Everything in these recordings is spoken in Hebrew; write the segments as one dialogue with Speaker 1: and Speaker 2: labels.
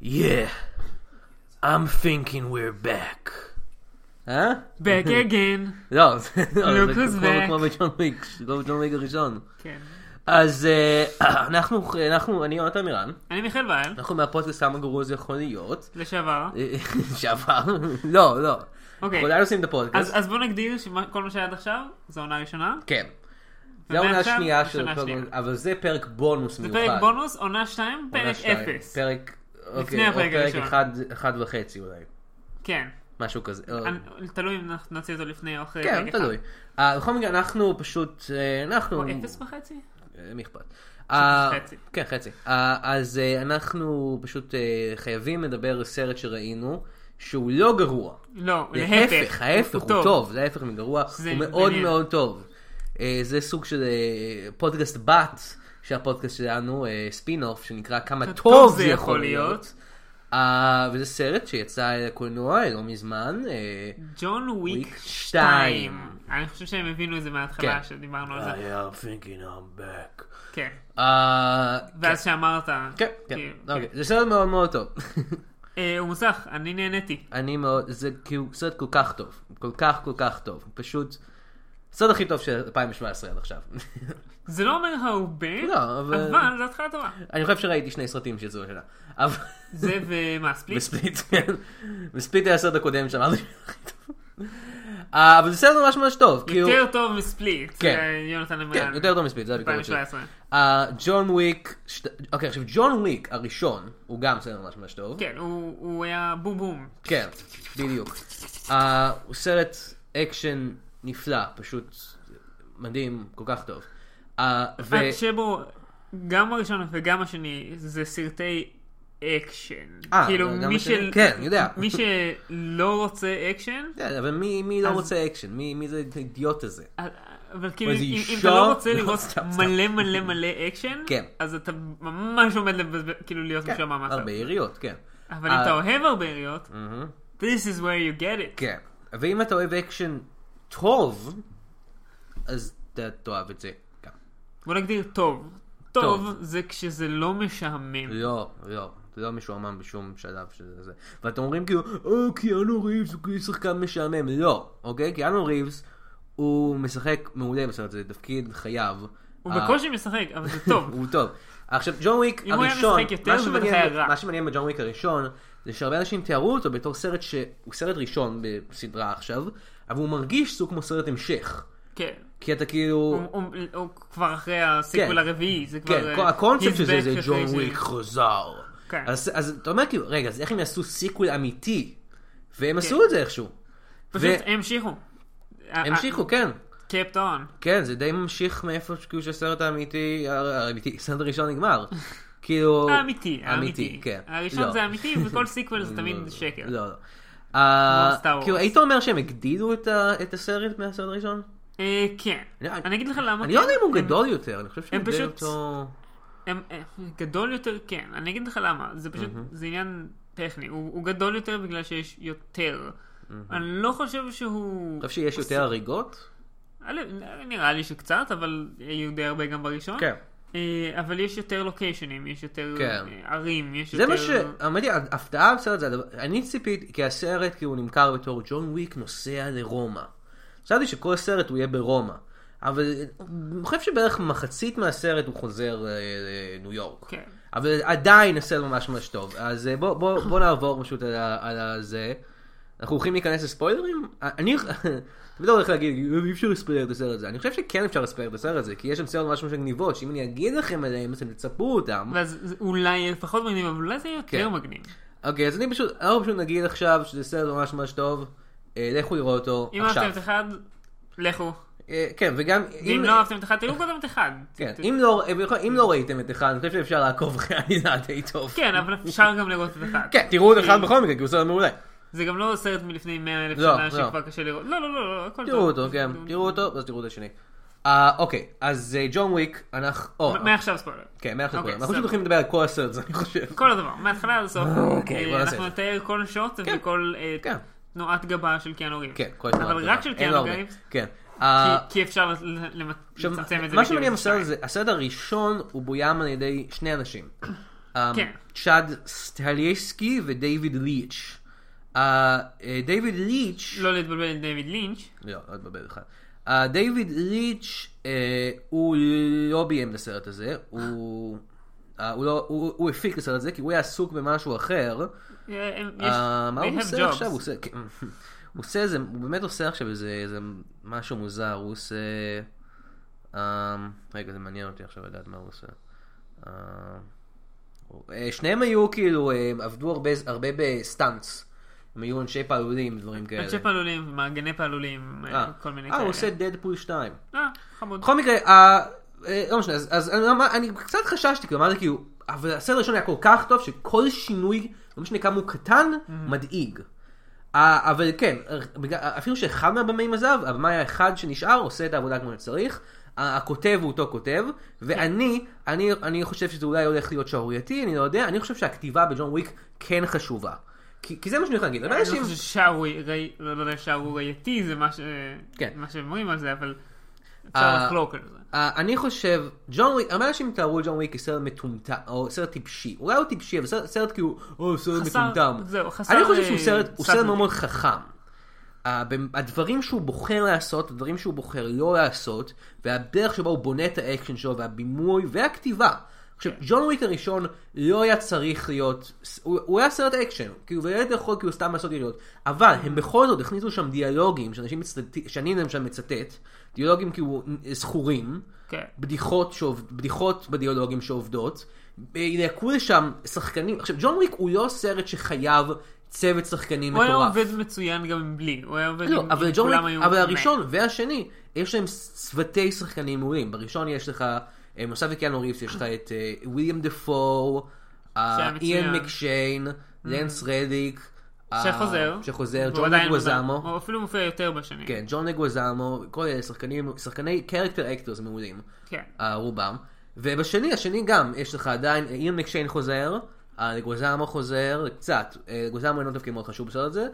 Speaker 1: Yeah. I'm thinking we're back. אה?
Speaker 2: back again.
Speaker 1: לא, זה לא, זה
Speaker 2: Look who's
Speaker 1: כמו-
Speaker 2: back.
Speaker 1: כמו בג'ון ויק, לא בג'ון ויק הראשון.
Speaker 2: כן.
Speaker 1: אז אה, אנחנו, אנחנו, אני יונתן מירן,
Speaker 2: אני מיכאל וייל,
Speaker 1: אנחנו מהפודקאסט כמה גרוע זה יכול להיות.
Speaker 2: לשעבר.
Speaker 1: אה, שעבר, לא, לא.
Speaker 2: אוקיי.
Speaker 1: כולנו עושים את הפודקאסט.
Speaker 2: אז אז בוא נגדיר שכל מה שהיה עד עכשיו, זו העונה הראשונה.
Speaker 1: כן. זה העונה
Speaker 2: ומעכשיו,
Speaker 1: השנייה של
Speaker 2: השנה
Speaker 1: אותו
Speaker 2: השנייה.
Speaker 1: גרוע, אבל זה פרק בונוס
Speaker 2: זה
Speaker 1: מיוחד.
Speaker 2: פרק בונוס, עונה 2,
Speaker 1: עונה
Speaker 2: פרק
Speaker 1: שתיים.
Speaker 2: 0.
Speaker 1: פרק, אוקיי, או
Speaker 2: הפרק
Speaker 1: פרק
Speaker 2: הראשון.
Speaker 1: אחד, אחד וחצי אולי.
Speaker 2: כן.
Speaker 1: משהו כזה. אה,
Speaker 2: אני- תלוי אם נ- נוציא אותו לפני או אחרי.
Speaker 1: כן,
Speaker 2: פרק אחד.
Speaker 1: תלוי. אה, בכל מקרה, אנחנו פשוט, אה, אנחנו...
Speaker 2: או 0 וחצי?
Speaker 1: אה, מי אכפת? אה,
Speaker 2: חצי.
Speaker 1: כן, חצי. אה, אז אה, אנחנו פשוט אה, חייבים לדבר על סרט שראינו, שהוא לא גרוע.
Speaker 2: לא,
Speaker 1: להפך,
Speaker 2: להפך.
Speaker 1: ההפך, הוא טוב, זה ההפך מגרוע,
Speaker 2: זה
Speaker 1: הוא מאוד
Speaker 2: מעניין.
Speaker 1: מאוד טוב. אה, זה סוג של אה, פודקאסט בת של הפודקאסט שלנו, אה, ספין-אוף, שנקרא כמה טוב זה יכול להיות. אה, וזה סרט שיצא לקולנוע לא מזמן. אה,
Speaker 2: ג'ון וויק
Speaker 1: וויק
Speaker 2: 2. אני חושב שהם הבינו את זה מההתחלה,
Speaker 1: כן.
Speaker 2: שדיברנו על זה.
Speaker 1: I am thinking I'm back.
Speaker 2: כן.
Speaker 1: אה,
Speaker 2: ואז שאמרת.
Speaker 1: כן, כן,
Speaker 2: כאילו,
Speaker 1: אוקיי. זה סרט מאוד מאוד טוב.
Speaker 2: אה, הוא מוסך, אני נהניתי.
Speaker 1: אני מאוד, זה כאילו סרט כל כך טוב. כל כך כל כך טוב. פשוט, הסרט הכי טוב של 2017 עד עכשיו.
Speaker 2: זה לא אומר הרבה,
Speaker 1: לא, אבל-
Speaker 2: אבל זו התחלה טובה.
Speaker 1: אני חושב שראיתי שני סרטים שיצאו השנה. אבל...
Speaker 2: זה ומה, ספליט?
Speaker 1: בספליט, כן. בספליט היה הסרט הקודם שאמרתי שהוא הכי טוב. אה, אבל זה סרט ממש ממש טוב. כאילו-
Speaker 2: יותר טוב מספליט.
Speaker 1: כן.
Speaker 2: אה, יונתן
Speaker 1: כן,
Speaker 2: אמרן.
Speaker 1: יותר טוב מספליט, זה הביקורת שלי.
Speaker 2: 2017.
Speaker 1: אה, ג'ון וויק, שת- אוקיי, עכשיו ג'ון וויק הראשון, הוא גם סרט ממש ממש טוב.
Speaker 2: כן, הוא הוא היה בום בום.
Speaker 1: כן, בדיוק. אה, הוא סרט אקשן נפלא, פשוט מדהים, כל כך טוב. אה, ו...
Speaker 2: עד שבו, גם הראשון וגם השני, זה סרטי אקשן.
Speaker 1: אה,
Speaker 2: כאילו,
Speaker 1: גם
Speaker 2: מי
Speaker 1: השני?
Speaker 2: של...
Speaker 1: כן, אני יודע.
Speaker 2: מי שלא רוצה אקשן,
Speaker 1: כן, אבל מי, מי לא
Speaker 2: אז-
Speaker 1: רוצה אקשן? מי, מי זה האידיוט הזה?
Speaker 2: אבל כאילו,
Speaker 1: או איזה
Speaker 2: אם אם
Speaker 1: אישה?
Speaker 2: אתה לא רוצה לראות
Speaker 1: סתם, סתם.
Speaker 2: מלא מלא מלא אקשן,
Speaker 1: כן.
Speaker 2: אז אתה ממש עומד לבזבז- כאילו להיות משועמם מהסרט.
Speaker 1: הרבה יריות, כן.
Speaker 2: אבל אם
Speaker 1: אה.
Speaker 2: אתה אוהב הרבה יריות, this is where you get it.
Speaker 1: כן. ואם אתה אוהב אקשן טוב, אז אתה תאהב את זה גם.
Speaker 2: בוא נגדיר טוב.
Speaker 1: טוב.
Speaker 2: טוב זה כשזה לא משעמם.
Speaker 1: לא, לא. זה לא משועמם בשום שלב של זה. ואתם אומרים כאילו, או, קיאנו ריבס הוא כאילו שחקן משעמם. לא, אוקיי? קיאנו ריבס הוא משחק מעולה בסרט הזה, תפקיד חייו.
Speaker 2: הוא
Speaker 1: אה,
Speaker 2: בקושי משחק, אבל זה טוב.
Speaker 1: הוא טוב. עכשיו, ג'ון וויק
Speaker 2: אם הוא היה
Speaker 1: הראשון,
Speaker 2: משחק יותר,
Speaker 1: מה
Speaker 2: זה בטח
Speaker 1: שמעניין-
Speaker 2: היה רע.
Speaker 1: מה שמעניין בג'ון וויק הראשון, זה שהרבה אנשים תיארו אותו בתור סרט שהוא סרט ראשון בסדרה עכשיו, אבל הוא מרגיש סוג כמו סרט המשך.
Speaker 2: כן.
Speaker 1: כי אתה
Speaker 2: הוא-
Speaker 1: כאילו,
Speaker 2: הוא הוא כבר אחרי הסיקוול
Speaker 1: כן.
Speaker 2: הרביעי, זה כבר...
Speaker 1: כן,
Speaker 2: אה,
Speaker 1: כל- הקונספט
Speaker 2: he's
Speaker 1: של זה
Speaker 2: back
Speaker 1: זה
Speaker 2: אחרי
Speaker 1: ג'ון
Speaker 2: ש-
Speaker 1: וויק חזר.
Speaker 2: כן.
Speaker 1: אז אז אתה אומר כאילו, רגע, אז איך הם יעשו סיקוול אמיתי? והם עשו את זה איכשהו.
Speaker 2: כן. פשוט אה, המשיכו.
Speaker 1: והמשיכו, כן.
Speaker 2: קפט און.
Speaker 1: כן, זה די ממשיך מאיפה ש- כאילו שהסרט האמיתי, אה, האמיתי, הסרט הראשון נגמר. כאילו...
Speaker 2: האמיתי, האמיתי.
Speaker 1: אמיתי, כן.
Speaker 2: הראשון
Speaker 1: לא.
Speaker 2: זה אמיתי, וכל סיקוול זה תמיד שקר.
Speaker 1: לא, לא. אה,
Speaker 2: Star Wars.
Speaker 1: כאילו, היית אומר שהם הגדילו את ה- את הסרט מהסרט הראשון?
Speaker 2: אה, כן. אני אגיד לך למה.
Speaker 1: אני לא
Speaker 2: כן.
Speaker 1: יודע אם הוא
Speaker 2: הם-
Speaker 1: גדול יותר, אני חושב שהם
Speaker 2: הם
Speaker 1: הגדילו
Speaker 2: פשוט-
Speaker 1: אותו...
Speaker 2: הם- אה, גדול יותר, כן. אני אגיד לך למה. זה פשוט, זה עניין טכני. הוא הוא גדול יותר בגלל שיש יותר. אני לא חושב שהוא...
Speaker 1: אני חושב שיש יותר הריגות?
Speaker 2: א', נראה לי שקצת, אבל היו די הרבה גם בראשון.
Speaker 1: כן.
Speaker 2: אה, אבל יש יותר לוקיישנים, יש יותר
Speaker 1: כן.
Speaker 2: אה, ערים, יש
Speaker 1: זה
Speaker 2: יותר...
Speaker 1: מה ש... האמת היא, ההפתעה בסרט זה הדבר... אני ציפיתי, כי הסרט כאילו נמכר בתור ג'ון וויק נוסע לרומא. חשבתי שכל הסרט הוא יהיה ברומא. אבל אני חושב שבערך מחצית מהסרט הוא חוזר אה, לניו יורק.
Speaker 2: כן.
Speaker 1: אבל עדיין הסרט ממש ממש טוב. אז אה, בוא, בוא, בוא נעבור פשוט על, ה- על הזה. אנחנו הולכים להיכנס לספוילרים? אני... תמיד הולך להגיד, "אה, אי אפשר לספיילר את הסרט הזה. אני חושב שכן אפשר לספיילר את הסרט הזה, כי יש שם סרט ממש ממש מגניבות, שאם אני אגיד לכם עליהם, אז אתם תצפו אותם.
Speaker 2: ואז זה אולי יהיה פחות מגניב, אבל אולי זה יהיה יותר
Speaker 1: כן.
Speaker 2: מגניב.
Speaker 1: אוקיי, אז אני פשוט, אנחנו פשוט נגיד עכשיו שזה סרט ממש ממש טוב, אה, לכו לראות אותו
Speaker 2: אם
Speaker 1: עכשיו.
Speaker 2: אהבתם את אחד, לכו.
Speaker 1: אה, כן, וגם
Speaker 2: אם לא אהבתם את אחד, תראו קודם את אחד.
Speaker 1: כן,
Speaker 2: ת-
Speaker 1: אם לא, אם לא ראיתם את אחד, אני חושב שאפשר לעקוב אחרי עלילה די טוב.
Speaker 2: כן, אבל אפשר גם לראות את אחד.
Speaker 1: כן, תראו את אחד בכל מקרה, כי הוא סרט מעולה.
Speaker 2: זה גם לא סרט מלפני 100 אלף
Speaker 1: לא,
Speaker 2: שנה
Speaker 1: לא.
Speaker 2: שכבר קשה לראות. לא, לא, לא, לא, הכל טוב.
Speaker 1: תראו אותו, כן, תראו אותו, ואז תראו את השני. אה, אוקיי, אז אה, ג'ון וויק, אנחנו... או,
Speaker 2: מ- מעכשיו ספוילר.
Speaker 1: כן, מעכשיו
Speaker 2: אוקיי,
Speaker 1: כולם. אנחנו פשוט
Speaker 2: סבבה.
Speaker 1: הולכים לדבר על כל הסרט הזה, אני חושב.
Speaker 2: כל הדבר, מההתחלה עד הסוף.
Speaker 1: אוקיי,
Speaker 2: אה,
Speaker 1: בוא נעשה
Speaker 2: אנחנו
Speaker 1: את
Speaker 2: נתאר כל שוט
Speaker 1: כן.
Speaker 2: וכל אה,
Speaker 1: כן.
Speaker 2: תנועת גבה של קיאנו ריבס.
Speaker 1: כן, כל הסרט.
Speaker 2: אבל רק של
Speaker 1: אין לו
Speaker 2: קיאנו
Speaker 1: הרבה.
Speaker 2: ריבס,
Speaker 1: כן. אה,
Speaker 2: כי- כי אפשר ל- למצ-
Speaker 1: עכשיו,
Speaker 2: לצמצם את זה.
Speaker 1: מה
Speaker 2: לכאילו
Speaker 1: שמעניין בסרט
Speaker 2: שתיים.
Speaker 1: הזה, הסרט הראשון הוא בוים על ידי שני אנשים. אמ,
Speaker 2: כן.
Speaker 1: צ'אד סטלייסקי ודייוויד ליץ'. אה, אה, דייוויד ליץ',
Speaker 2: לא להתבלבל עם דיוויד לינץ'.
Speaker 1: לא, לא אתבלבל בכלל. אה, דייוויד ליץ' אה, הוא לא ביים את הסרט הזה, הוא... אה, הוא, לא, הוא, הוא הפיק את הסרט הזה כי הוא היה עסוק במשהו אחר.
Speaker 2: אה, הם- יש-
Speaker 1: אה, מה
Speaker 2: they
Speaker 1: הוא
Speaker 2: have
Speaker 1: עושה
Speaker 2: jobs.
Speaker 1: עכשיו? הוא עושה, כן. הוא עושה איזה, הוא באמת עושה עכשיו איזה, איזה משהו מוזר, הוא עושה... אה, רגע, זה מעניין אותי עכשיו לדעת מה הוא עושה. אה, הוא- אה, שניהם היו כאילו, הם עבדו הרבה, הרבה בסטאנץ. הם היו אנשי פעלולים, דברים כאלה.
Speaker 2: אנשי פעלולים, מעגני פעלולים, אה,
Speaker 1: אה,
Speaker 2: כל מיני
Speaker 1: אה,
Speaker 2: כאלה.
Speaker 1: הוא עושה דדפול 2.
Speaker 2: אה, חמוד.
Speaker 1: בכל מקרה, אה, אה, לא משנה, אז- אז אני אמר- אני קצת חששתי, כאילו, אמרתי כאילו, אבל הסרט הראשון היה כל כך טוב, שכל שינוי, לא משנה כמה הוא קטן,
Speaker 2: Mm.
Speaker 1: מדאיג. אה, אבל כן, אה, בגלל- אפילו שאחד מהבמאים עזב, הבמאי האחד שנשאר עושה את העבודה כמו שצריך. ה- הכותב הוא אותו כותב,
Speaker 2: כן.
Speaker 1: ואני, אני, אני חושב שזה אולי הולך להיות שערורייתי, אני לא יודע, אני חושב שהכתיבה בג'ון וויק כן חשובה. כי, כי זה מה שאני הולך להגיד, הרבה
Speaker 2: אני לא
Speaker 1: אנשים...
Speaker 2: חושב ששערורי- ראי- לא יודע, שערורייתי זה מה ש-
Speaker 1: כן.
Speaker 2: מה שהם אומרים על זה, אבל
Speaker 1: אה,
Speaker 2: אפשר לחלוק על זה.
Speaker 1: Uh, אני חושב, ג'ון וויק, הרבה אנשים תארו את ג'ון וויק כסרט מטומטם, או סרט טיפשי. אולי הוא טיפשי, אבל סרט, סרט כאילו, או, סרט
Speaker 2: חסר-
Speaker 1: מטומטם.
Speaker 2: זהו, חסר,
Speaker 1: אני חושב
Speaker 2: אה,
Speaker 1: שהוא סרט, הוא
Speaker 2: סאבטנט.
Speaker 1: סרט מאוד מאוד חכם. Uh, הדברים שהוא בוחר לעשות, הדברים שהוא בוחר לא לעשות, והדרך שבה הוא בונה את האקשן שלו, והבימוי, והכתיבה.
Speaker 2: כן.
Speaker 1: עכשיו, ג'ון וויק הראשון לא היה צריך להיות, הוא, הוא היה סרט אקשן, כאילו, והילד יכול כאילו סתם לעשות ידיעות, אבל הם בכל זאת הכניסו שם דיאלוגים, שאנשים מצטט, שאני למשל מצטט, דיאלוגים כאילו זכורים,
Speaker 2: כן.
Speaker 1: בדיחות, שעובד, בדיחות בדיאלוגים שעובדות, ילהקו לשם שחקנים. עכשיו, ג'ון וויק הוא לא סרט שחייב צוות שחקנים
Speaker 2: הוא היה
Speaker 1: מטורף.
Speaker 2: עובד מצוין גם בלי, הוא היה עובד
Speaker 1: לא,
Speaker 2: עם
Speaker 1: אבל
Speaker 2: עם
Speaker 1: ג'ון
Speaker 2: כולם
Speaker 1: וויק,
Speaker 2: היו...
Speaker 1: אבל
Speaker 2: מאה.
Speaker 1: הראשון והשני, יש להם צוותי שחקנים מעולים. בראשון יש לך, אה, נוסף לקיאנו ריבס, יש לך את אה, ויליאם דפו, אה,
Speaker 2: שהיה מצוין. Mm.
Speaker 1: איין מקשיין, לנס רדיק. אה,
Speaker 2: שחוזר.
Speaker 1: שחוזר,
Speaker 2: והוא
Speaker 1: ג'ון
Speaker 2: עדיין אוקיי.
Speaker 1: גוזמו.
Speaker 2: מוזר. הוא אפילו מופיע יותר בשנים.
Speaker 1: כן, ג'ון נגוזמו, כל אלה שחקנים, שחקני קרקטר אקטורס מעולים,
Speaker 2: כן.
Speaker 1: אה, רובם. ובשני, השני גם, יש לך עדיין, אה, איין מקשיין חוזר, אה, נגוזמו חוזר, קצת, אה, נגוזמו אינו תפקיד מאוד חשוב בסרט הזה.
Speaker 2: הוא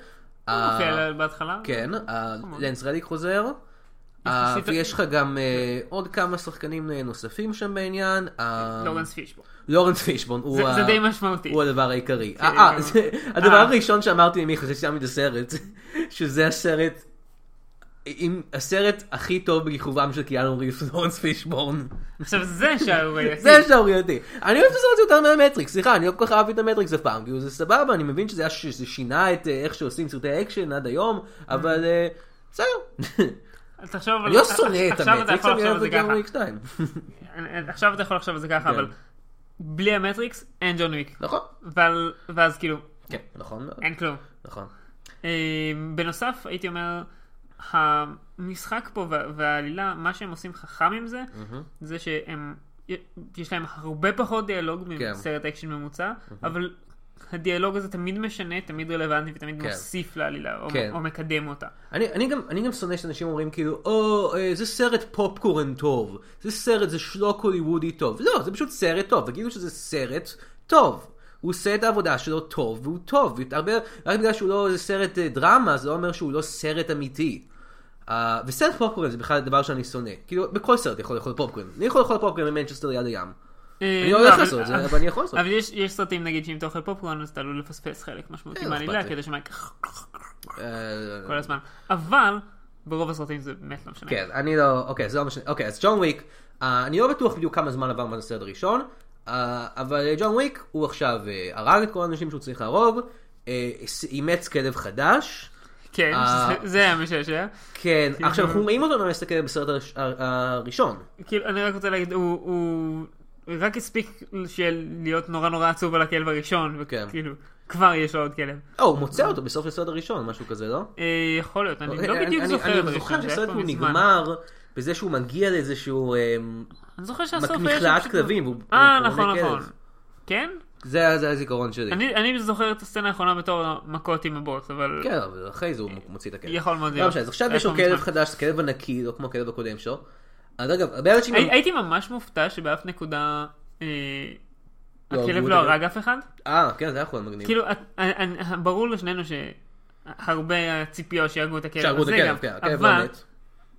Speaker 1: אה,
Speaker 2: לא מופיע בהתחלה.
Speaker 1: כן, אה,
Speaker 2: חמוד.
Speaker 1: לנס רדיק חוזר. אה,
Speaker 2: יחסית-
Speaker 1: ויש לך גם אה, עוד כמה שחקנים אה, נוספים שם בעניין. אה,
Speaker 2: לורנס פישבורג.
Speaker 1: לורנס פישבון. הוא
Speaker 2: זה
Speaker 1: ה-
Speaker 2: זה די משמעותי.
Speaker 1: הוא הדבר העיקרי.
Speaker 2: כן,
Speaker 1: אה, אה,
Speaker 2: גם-
Speaker 1: זה- הדבר
Speaker 2: אה.
Speaker 1: הראשון שאמרתי למיכה ששם את הסרט, שזה הסרט, עם הסרט הכי טוב בכיכובם של קיאנו ריבס ולורנס פישבורן.
Speaker 2: עכשיו זה שערורייתי.
Speaker 1: זה שערורייתי. אני אוהב את הסרט הזה יותר מהמטריקס, סליחה, אני לא כל כך אהבתי את המטריקס אף פעם, כאילו זה סבבה, אני מבין שזה היה ש- שזה שינה את אה, איך שעושים סרטי אקשן עד היום, אבל אה, בסדר.
Speaker 2: תחשוב על...
Speaker 1: אני לא שונא את
Speaker 2: עכשיו אתה
Speaker 1: המטריקס, כן. אני
Speaker 2: יכול לחשוב
Speaker 1: אוהב
Speaker 2: על זה
Speaker 1: את ג'ון
Speaker 2: ככה.
Speaker 1: וויק 2.
Speaker 2: עכשיו אתה יכול לחשוב על זה ככה, אבל בלי המטריקס אין ג'ון וויק.
Speaker 1: נכון,
Speaker 2: ועל- ואז כאילו,
Speaker 1: כן, נכון מאוד,
Speaker 2: אין כלום.
Speaker 1: נכון.
Speaker 2: אה, בנוסף, הייתי אומר, המשחק פה וה- והעלילה, מה שהם עושים חכם עם זה, זה שהם, יש להם הרבה פחות דיאלוג
Speaker 1: כן.
Speaker 2: מסרט אקשן ממוצע, אבל הדיאלוג הזה תמיד משנה, תמיד רלוונטי ותמיד
Speaker 1: כן.
Speaker 2: מוסיף לעלילה, או-
Speaker 1: כן.
Speaker 2: או מקדם אותה.
Speaker 1: אני, אני, גם, אני גם שונא שאנשים אומרים כאילו, או, אה, זה סרט פופקורן טוב, זה סרט, זה שלוק הוליוודי טוב. לא, זה פשוט סרט טוב, תגידו שזה סרט טוב. הוא עושה את העבודה שלו טוב, והוא טוב. הרבה, רק בגלל שהוא לא איזה סרט אה, דרמה, זה לא אומר שהוא לא סרט אמיתי. Uh, וסרט פופקורן זה בכלל דבר שאני שונא. כאילו, בכל סרט יכול לאכול פופקורן. אני יכול לאכול פופקורן במנצ'סטר יד הים.
Speaker 2: אה,
Speaker 1: אני לא הולך
Speaker 2: אבל-
Speaker 1: לעשות את זה, אבל אני יכול לעשות.
Speaker 2: אבל יש יש סרטים, נגיד, שאם אתה אוכל פופקורן, אז אתה עלול לפספס חלק משמעותי
Speaker 1: אה, לא
Speaker 2: מהעלילה,
Speaker 1: אכפת לי.
Speaker 2: כי אתה שומע
Speaker 1: אה,
Speaker 2: כל הזמן. אבל, ברוב הסרטים זה באמת לא משנה.
Speaker 1: כן, אני לא, אוקיי, זה לא משנה, אוקיי, אז ג'ון וויק, אה, אני לא בטוח בדיוק כמה זמן עבר מאז הסרט הראשון, אה, אבל אה, ג'ון וויק, הוא עכשיו אה, הרג את כל האנשים שהוא צריך להרוג, אה, ס- אימץ כלב חדש,
Speaker 2: כן,
Speaker 1: אה.
Speaker 2: זה- זה היה משעשע.
Speaker 1: כן,
Speaker 2: כאילו-
Speaker 1: עכשיו אנחנו רואים אותו ממש כלב בסרט הראש- הר- הראשון,
Speaker 2: כאילו, אני רק רוצה להגיד, הוא- הוא רק הספיק של- להיות נורא נורא עצוב על הכלב הראשון,
Speaker 1: כן.
Speaker 2: וכאילו, כבר יש לו עוד כלב.
Speaker 1: או, הוא מוצא אותו בסוף הסרט הראשון, משהו כזה, לא? אוקיי,
Speaker 2: אה, יכול להיות, אני
Speaker 1: אני-
Speaker 2: לא בדיוק
Speaker 1: אני-
Speaker 2: זוכר את
Speaker 1: אני
Speaker 2: הראשון,
Speaker 1: זוכר
Speaker 2: זה היה
Speaker 1: שהסרט
Speaker 2: כבר
Speaker 1: הוא
Speaker 2: מזמן.
Speaker 1: נגמר בזה שהוא מגיע לאיזשהו אמ,
Speaker 2: אני זוכר שהסוף היה...
Speaker 1: מכלאת
Speaker 2: שפשוט-
Speaker 1: כלבים, והוא- הוא
Speaker 2: אה,
Speaker 1: הוא כן.
Speaker 2: נכון,
Speaker 1: עונה
Speaker 2: נכון.
Speaker 1: כלב.
Speaker 2: כן?
Speaker 1: זה זה הזיכרון שלי.
Speaker 2: אני אני זוכר את הסצנה האחרונה בתור מכות עם הבוס, אבל...
Speaker 1: כן, אבל אחרי זה הוא מוציא את הכלב.
Speaker 2: יכול מאוד
Speaker 1: לא
Speaker 2: להיות.
Speaker 1: משנה, אז עכשיו
Speaker 2: היה
Speaker 1: יש לו
Speaker 2: כבר
Speaker 1: כלב
Speaker 2: מזמן.
Speaker 1: חדש, זה כלב ענקי, לא כמו הכלב הקודם שלו. אז אגב, הרבה אנשים...
Speaker 2: הי- הייתי ממש מופתע שבאף נקודה אה,
Speaker 1: לא,
Speaker 2: הכלב
Speaker 1: הוא
Speaker 2: לא
Speaker 1: מדבר.
Speaker 2: הרג אף אחד.
Speaker 1: אה, כן, זה היה יכול להיות מגניב.
Speaker 2: כאילו, את- אני- אני- ברור לשנינו שהרבה הציפיות שיהרגו את הכלב
Speaker 1: שהרגו את
Speaker 2: הזה
Speaker 1: הכלב,
Speaker 2: גם,
Speaker 1: כן, הכלב לא
Speaker 2: אבל
Speaker 1: מת.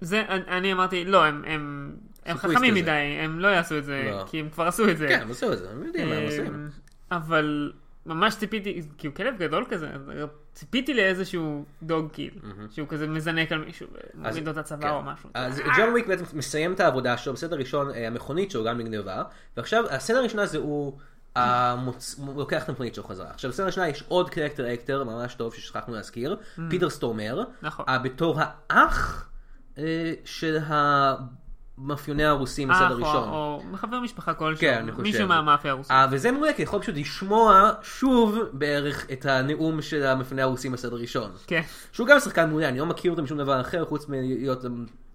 Speaker 2: זה, אני- אני אמרתי, לא, הם- הם הם
Speaker 1: סיפויסט
Speaker 2: חכמים
Speaker 1: כזה.
Speaker 2: מדי, הם לא יעשו את זה,
Speaker 1: לא.
Speaker 2: כי הם כבר עשו את זה.
Speaker 1: כן, הם עשו את זה, הם יודעים מה הם
Speaker 2: אה,
Speaker 1: עושים.
Speaker 2: אבל ממש ציפיתי, כי הוא כלב גדול כזה, אז אה, ציפיתי לאיזשהו דוג קיל, שהוא כזה מזנק על מישהו, ומוריד לו את הצוואר או משהו.
Speaker 1: כן. אז ג'ון וויק בעצם מסיים את העבודה שלו, בסדר ראשון אה, המכונית שלו גם נגנבה, ועכשיו הסצנה הראשונה זה הוא המוצ... הוא לוקח את המכונית שלו חזרה. עכשיו בסצנה הראשונה יש עוד קרקטר אקטר ממש טוב ששכחנו להזכיר, פיטר סטומר,
Speaker 2: Mm. נכון.
Speaker 1: אה, בתור האח אה, של המאפיוני הרוסים בסדר
Speaker 2: אח או-
Speaker 1: ראשון.
Speaker 2: או חבר משפחה כלשהו,
Speaker 1: כן, אני חושב.
Speaker 2: מישהו מהמאפיה הרוסית.
Speaker 1: אה, וזה מעולה, כי יכול פשוט לשמוע שוב בערך את הנאום של המפנה הרוסים בסדר ראשון.
Speaker 2: כן,
Speaker 1: שהוא גם שחקן מעולה, אני לא מכיר אותו משום דבר אחר, חוץ מלהיות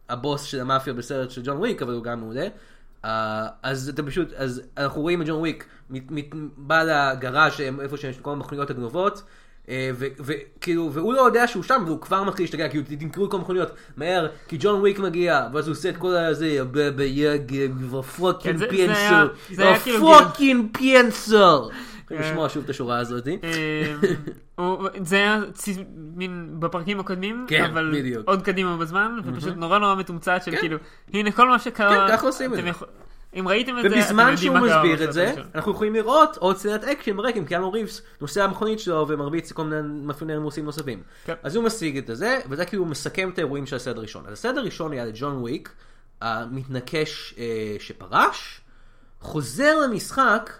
Speaker 1: הבוס של המאפיה בסרט של ג'ון וויק, אבל הוא גם מעולה. אה, אז אתה פשוט, אז אנחנו רואים את ג'ון וויק מת, מת, בא לגראז' שהם- איפה שיש כל המכוניות הגנובות. אה, ו- וכאילו, והוא לא יודע שהוא שם, והוא כבר מתחיל להשתגע, כאילו, תמכרו את כל המכוניות, מהר, כי ג'ון וויק מגיע, ואז הוא עושה את כל הזה, ב- ב- יג,
Speaker 2: כן, זה-
Speaker 1: ופוקינג
Speaker 2: זה
Speaker 1: פינסר,
Speaker 2: היה- זה היה כאילו גיל-
Speaker 1: ופוקינג פינסר.
Speaker 2: כן.
Speaker 1: לשמוע שוב את השורה הזאת.
Speaker 2: אה, הוא- זה היה צי- מין בפרקים הקודמים,
Speaker 1: כן,
Speaker 2: אבל
Speaker 1: בדיוק.
Speaker 2: עוד קדימה בזמן, ופשוט נורא נורא מתומצת של כאילו, הנה כל מה שקרה,
Speaker 1: כן, ככה עושים את
Speaker 2: אתם
Speaker 1: זה.
Speaker 2: יכול- אם ראיתם את זה, אתם יודעים מה קרה.
Speaker 1: ובזמן שהוא מסביר את זה,
Speaker 2: בסרט הראשון.
Speaker 1: אנחנו יכולים לראות עוד סצנת אקשן ברקע עם קיאנו ריבס נוסע במכונית שלו ומרביץ לכל מיני מאפייני רוסים נוספים.
Speaker 2: כן.
Speaker 1: אז הוא משיג את זה, וזה כאילו מסכם את האירועים של הסרט הראשון. אז הסרט הראשון היה לג'ון וויק, המתנקש אה, שפרש, חוזר למשחק,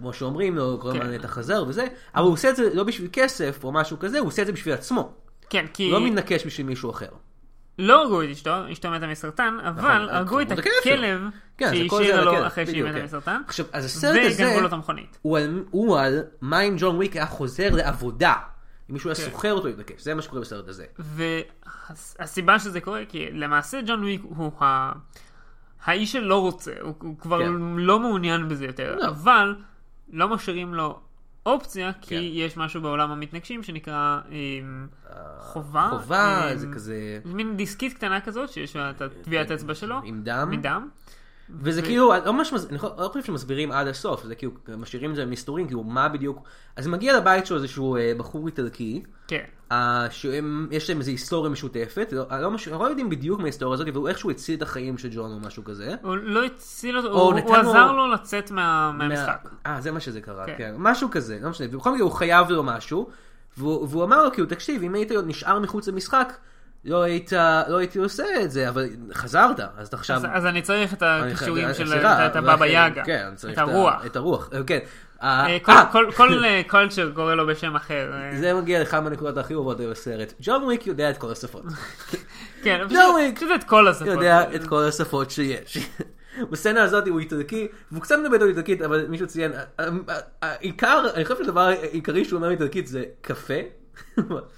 Speaker 1: כמו שאומרים לא לו, כל
Speaker 2: כן.
Speaker 1: הזמן אתה חזר וזה, אבל הוא עושה את זה לא בשביל כסף או משהו כזה, הוא עושה את זה בשביל עצמו.
Speaker 2: כן, כי
Speaker 1: הוא לא מתנקש בשביל מישהו אחר.
Speaker 2: לא הרגו את אשתו, אשתו מתה מסרטן, אבל
Speaker 1: נכון,
Speaker 2: הרגו את
Speaker 1: את הכלב שלו.
Speaker 2: הכלב
Speaker 1: כן, זה כל זה
Speaker 2: שהשאירה
Speaker 1: על
Speaker 2: לו
Speaker 1: הכלב,
Speaker 2: אחרי שהיא
Speaker 1: בדיוק,
Speaker 2: מתה
Speaker 1: כן.
Speaker 2: מסרטן,
Speaker 1: עכשיו, אז הסרט הזה...
Speaker 2: וגנבו לו את המכונית.
Speaker 1: הוא על, הוא על מה אם ג'ון וויק היה חוזר לעבודה. אם מישהו היה
Speaker 2: כן.
Speaker 1: סוחר אותו להתנקש, זה מה שקורה בסרט הזה.
Speaker 2: והסיבה שזה קורה, כי למעשה ג'ון וויק הוא ה... האיש שלא רוצה, הוא, הוא כבר
Speaker 1: כן.
Speaker 2: לא מעוניין בזה יותר,
Speaker 1: לא.
Speaker 2: אבל לא משאירים לו אופציה, כי
Speaker 1: כן.
Speaker 2: יש משהו בעולם המתנגשים שנקרא אמ, חובה.
Speaker 1: אה, חובה,
Speaker 2: אמ,
Speaker 1: זה כזה...
Speaker 2: זה מין דיסקית קטנה כזאת, שיש לה את טביעת האצבע שלו,
Speaker 1: לא. עם דם.
Speaker 2: מדם.
Speaker 1: וזה
Speaker 2: ו-
Speaker 1: כאילו, אני לא ממש מס- אני לא חושב שמסבירים עד הסוף, זה כאילו, משאירים את זה במסתורים, כאילו, מה בדיוק... אז מגיע לבית שלו איזשהו אה, בחור איטלקי,
Speaker 2: כן.
Speaker 1: אה, שהם- יש להם איזו היסטוריה משותפת, לא- לא מש- לא יודעים בדיוק מההיסטוריה הזאת, והוא איכשהו הציל את החיים של ג'ון או משהו כזה.
Speaker 2: הוא לא הציל אותו,
Speaker 1: או
Speaker 2: הוא,
Speaker 1: נתן
Speaker 2: הוא
Speaker 1: לו-
Speaker 2: עזר לו לצאת מה, מהמשחק.
Speaker 1: אה, זה מה שזה קרה,
Speaker 2: כן.
Speaker 1: כן. משהו כזה, לא משנה. ובכל מקרה הוא חייב לו משהו, והוא, והוא אמר לו, כאילו, תקשיב, אם היית נשאר מחוץ למשחק, לא, היית, לא הייתי עושה את זה, אבל חזרת, אז אתה עכשיו...
Speaker 2: אז, אז אני צריך את
Speaker 1: אני חייב-
Speaker 2: הכישורים של
Speaker 1: סליחה,
Speaker 2: את- את הבבא
Speaker 1: ולכן-
Speaker 2: יאגה,
Speaker 1: כן, אני צריך
Speaker 2: את הרוח.
Speaker 1: את הרוח, אה, כן. אה,
Speaker 2: אה, כל-
Speaker 1: אה,
Speaker 2: כל- כל אה, קולצ'ר קורא לו בשם אחר. אה,
Speaker 1: זה מגיע לאחד מהנקודות הכי אוהבות בסרט. ג'ון וויק יודע את כל השפות.
Speaker 2: כן, פשוט-
Speaker 1: ג'ורוויק.
Speaker 2: פשוט את כל השפות.
Speaker 1: לא, יודע
Speaker 2: אה.
Speaker 1: את כל השפות שיש. בסצנה הזאת הוא איטלקי, והוא קצת מדבר איתו איטלקית, אבל מישהו ציין, ה- ה- ה- העיקר, אני חושב שהדבר העיקרי שהוא אומר איטלקית זה קפה.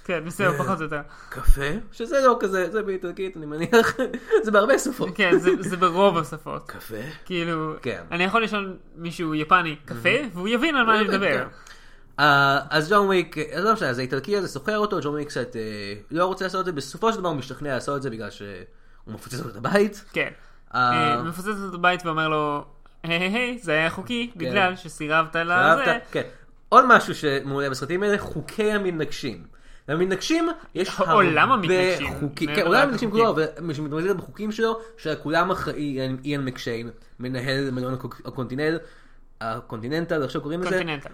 Speaker 2: כן, בסדר,
Speaker 1: אה.
Speaker 2: פחות או יותר.
Speaker 1: קפה? שזה לא כזה, זה באיטלקית, אני מניח, זה בהרבה שפות.
Speaker 2: כן, זה- זה ברוב השפות.
Speaker 1: קפה?
Speaker 2: כאילו,
Speaker 1: כן.
Speaker 2: אני יכול לשאול מישהו יפני קפה, והוא יבין על מה אני מדבר.
Speaker 1: כן. אה, אז ג'ון וויק, אז לא משנה, זה איטלקי הזה סוחר אותו, ג'ון וויק קצת אה, לא רוצה לעשות את זה, בסופו של דבר הוא משתכנע לעשות את זה בגלל שהוא מפוצץ לו את הבית.
Speaker 2: כן.
Speaker 1: אה,
Speaker 2: אה, מפוצץ אותו בבית ואומר לו, היי היי היי, זה היה חוקי,
Speaker 1: כן.
Speaker 2: בגלל שסירבת לזה.
Speaker 1: אהבת? כן. עוד משהו שמעולה בסרטים האלה, חוקי המתנגשים. למתנגשים יש
Speaker 2: עולם המתנגשים,
Speaker 1: חוקים,
Speaker 2: מעבר
Speaker 1: כן, עולם
Speaker 2: לרק
Speaker 1: המתנגשים
Speaker 2: החוקים.
Speaker 1: כולו, אבל מי שמתמודד בחוקים שלו, שכולם אחראי, איין- איין מקשיין, מנהל מלון הקוק- הקונטינל, הקונטיננטל, עכשיו קוראים לזה,
Speaker 2: קונטיננטל.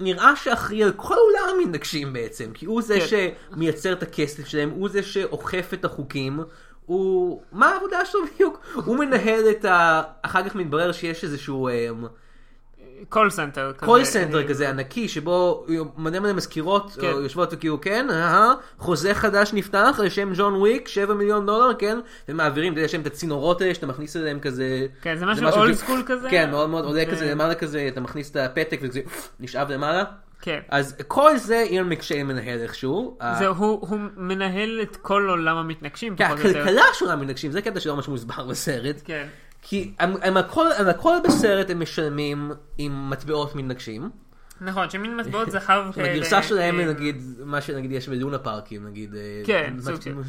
Speaker 1: ונראה שאחראי על כל עולם המתנגשים בעצם, כי הוא זה
Speaker 2: כן.
Speaker 1: שמייצר את הכסף שלהם, הוא זה שאוכף את החוקים, הוא... מה העבודה שלו בדיוק? הוא מנהל את ה... אחר כך מתברר שיש איזשהו... אמ,
Speaker 2: קול סנטר כזה.
Speaker 1: קול סנטר כזה ענקי, שבו מלא מלא מזכירות
Speaker 2: כן.
Speaker 1: או יושבות וכאילו, כן, אהה, חוזה חדש נפתח לשם ג'ון וויק, 7 מיליון דולר, כן, ומעבירים, אתה יודע, יש להם את הצינורות האלה שאתה מכניס אליהם כזה.
Speaker 2: כן, זה משהו
Speaker 1: כאילו-
Speaker 2: old school כזה.
Speaker 1: כן, מאוד מאוד עולה
Speaker 2: ו-
Speaker 1: כזה למעלה כזה, אתה מכניס את הפתק וזה נשאב למעלה.
Speaker 2: כן.
Speaker 1: אז כל זה אילן מקשיין מנהל איכשהו. ה-
Speaker 2: זהו, הוא הוא מנהל את כל עולם המתנגשים,
Speaker 1: כן,
Speaker 2: פחות או יותר.
Speaker 1: הכלכלה שונה מנגשים, זה קטע שלא ממש מוסבר בסרט.
Speaker 2: כן.
Speaker 1: כי הם- הם הכל- על הכל בסרט הם משלמים עם מטבעות מנגשים.
Speaker 2: נכון, שמין מטבעות זהב כאלה.
Speaker 1: בגרסה שלהם
Speaker 2: אה,
Speaker 1: נגיד, מה שנגיד יש בלונה פארקים, נגיד, אה,
Speaker 2: כן,
Speaker 1: מט-
Speaker 2: סוג של.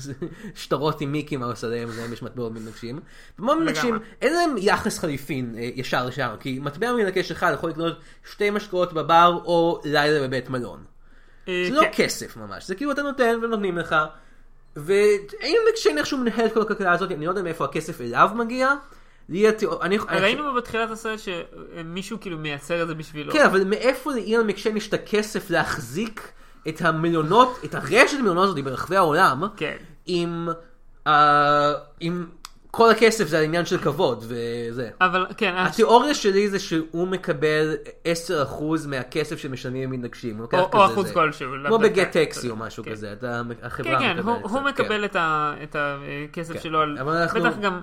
Speaker 1: שטרות עם מיקים על השדה, להם יש מטבעות מתנגשים. כמו מתנגשים,
Speaker 2: לגמרי.
Speaker 1: אין להם יחס חליפין אה, ישר לשם, כי מטבע מנגש אחד יכול לקנות שתי משקאות בבר או לילה בבית מלון.
Speaker 2: אה,
Speaker 1: זה לא
Speaker 2: כן.
Speaker 1: כסף ממש, זה כאילו אתה נותן ונותנים לך. ואין מקשיין איכשהו מנהל את כל הכלכלה הזאת, אני לא יודע מאיפה הכסף אליו מגיע, לי התיאור- אני- אני-
Speaker 2: ראינו בתחילת הסרט שמישהו כאילו מייצר את זה בשבילו.
Speaker 1: כן, אבל מאיפה לאילן מקשן יש את הכסף להחזיק את המלונות, את הרשת המלונות הזאת ברחבי העולם,
Speaker 2: כן.
Speaker 1: עם, uh, עם כל הכסף זה העניין של כבוד וזה.
Speaker 2: אבל כן, אז-
Speaker 1: התיאוריה שלי זה שהוא מקבל 10% מהכסף שמשלמים למתנגשים. הוא לוקח
Speaker 2: או- או
Speaker 1: כזה
Speaker 2: אחוז
Speaker 1: זה.
Speaker 2: כלשהו. לאו
Speaker 1: כמו
Speaker 2: דווקא.
Speaker 1: בגט טקסי או משהו
Speaker 2: כן.
Speaker 1: כזה, אתה- החברה
Speaker 2: כן, כן,
Speaker 1: מקבלת.
Speaker 2: הוא- הוא
Speaker 1: קצת, כן.
Speaker 2: מקבל את ה- את הכסף
Speaker 1: כן.
Speaker 2: שלו. על-
Speaker 1: אבל אנחנו-
Speaker 2: בטח גם,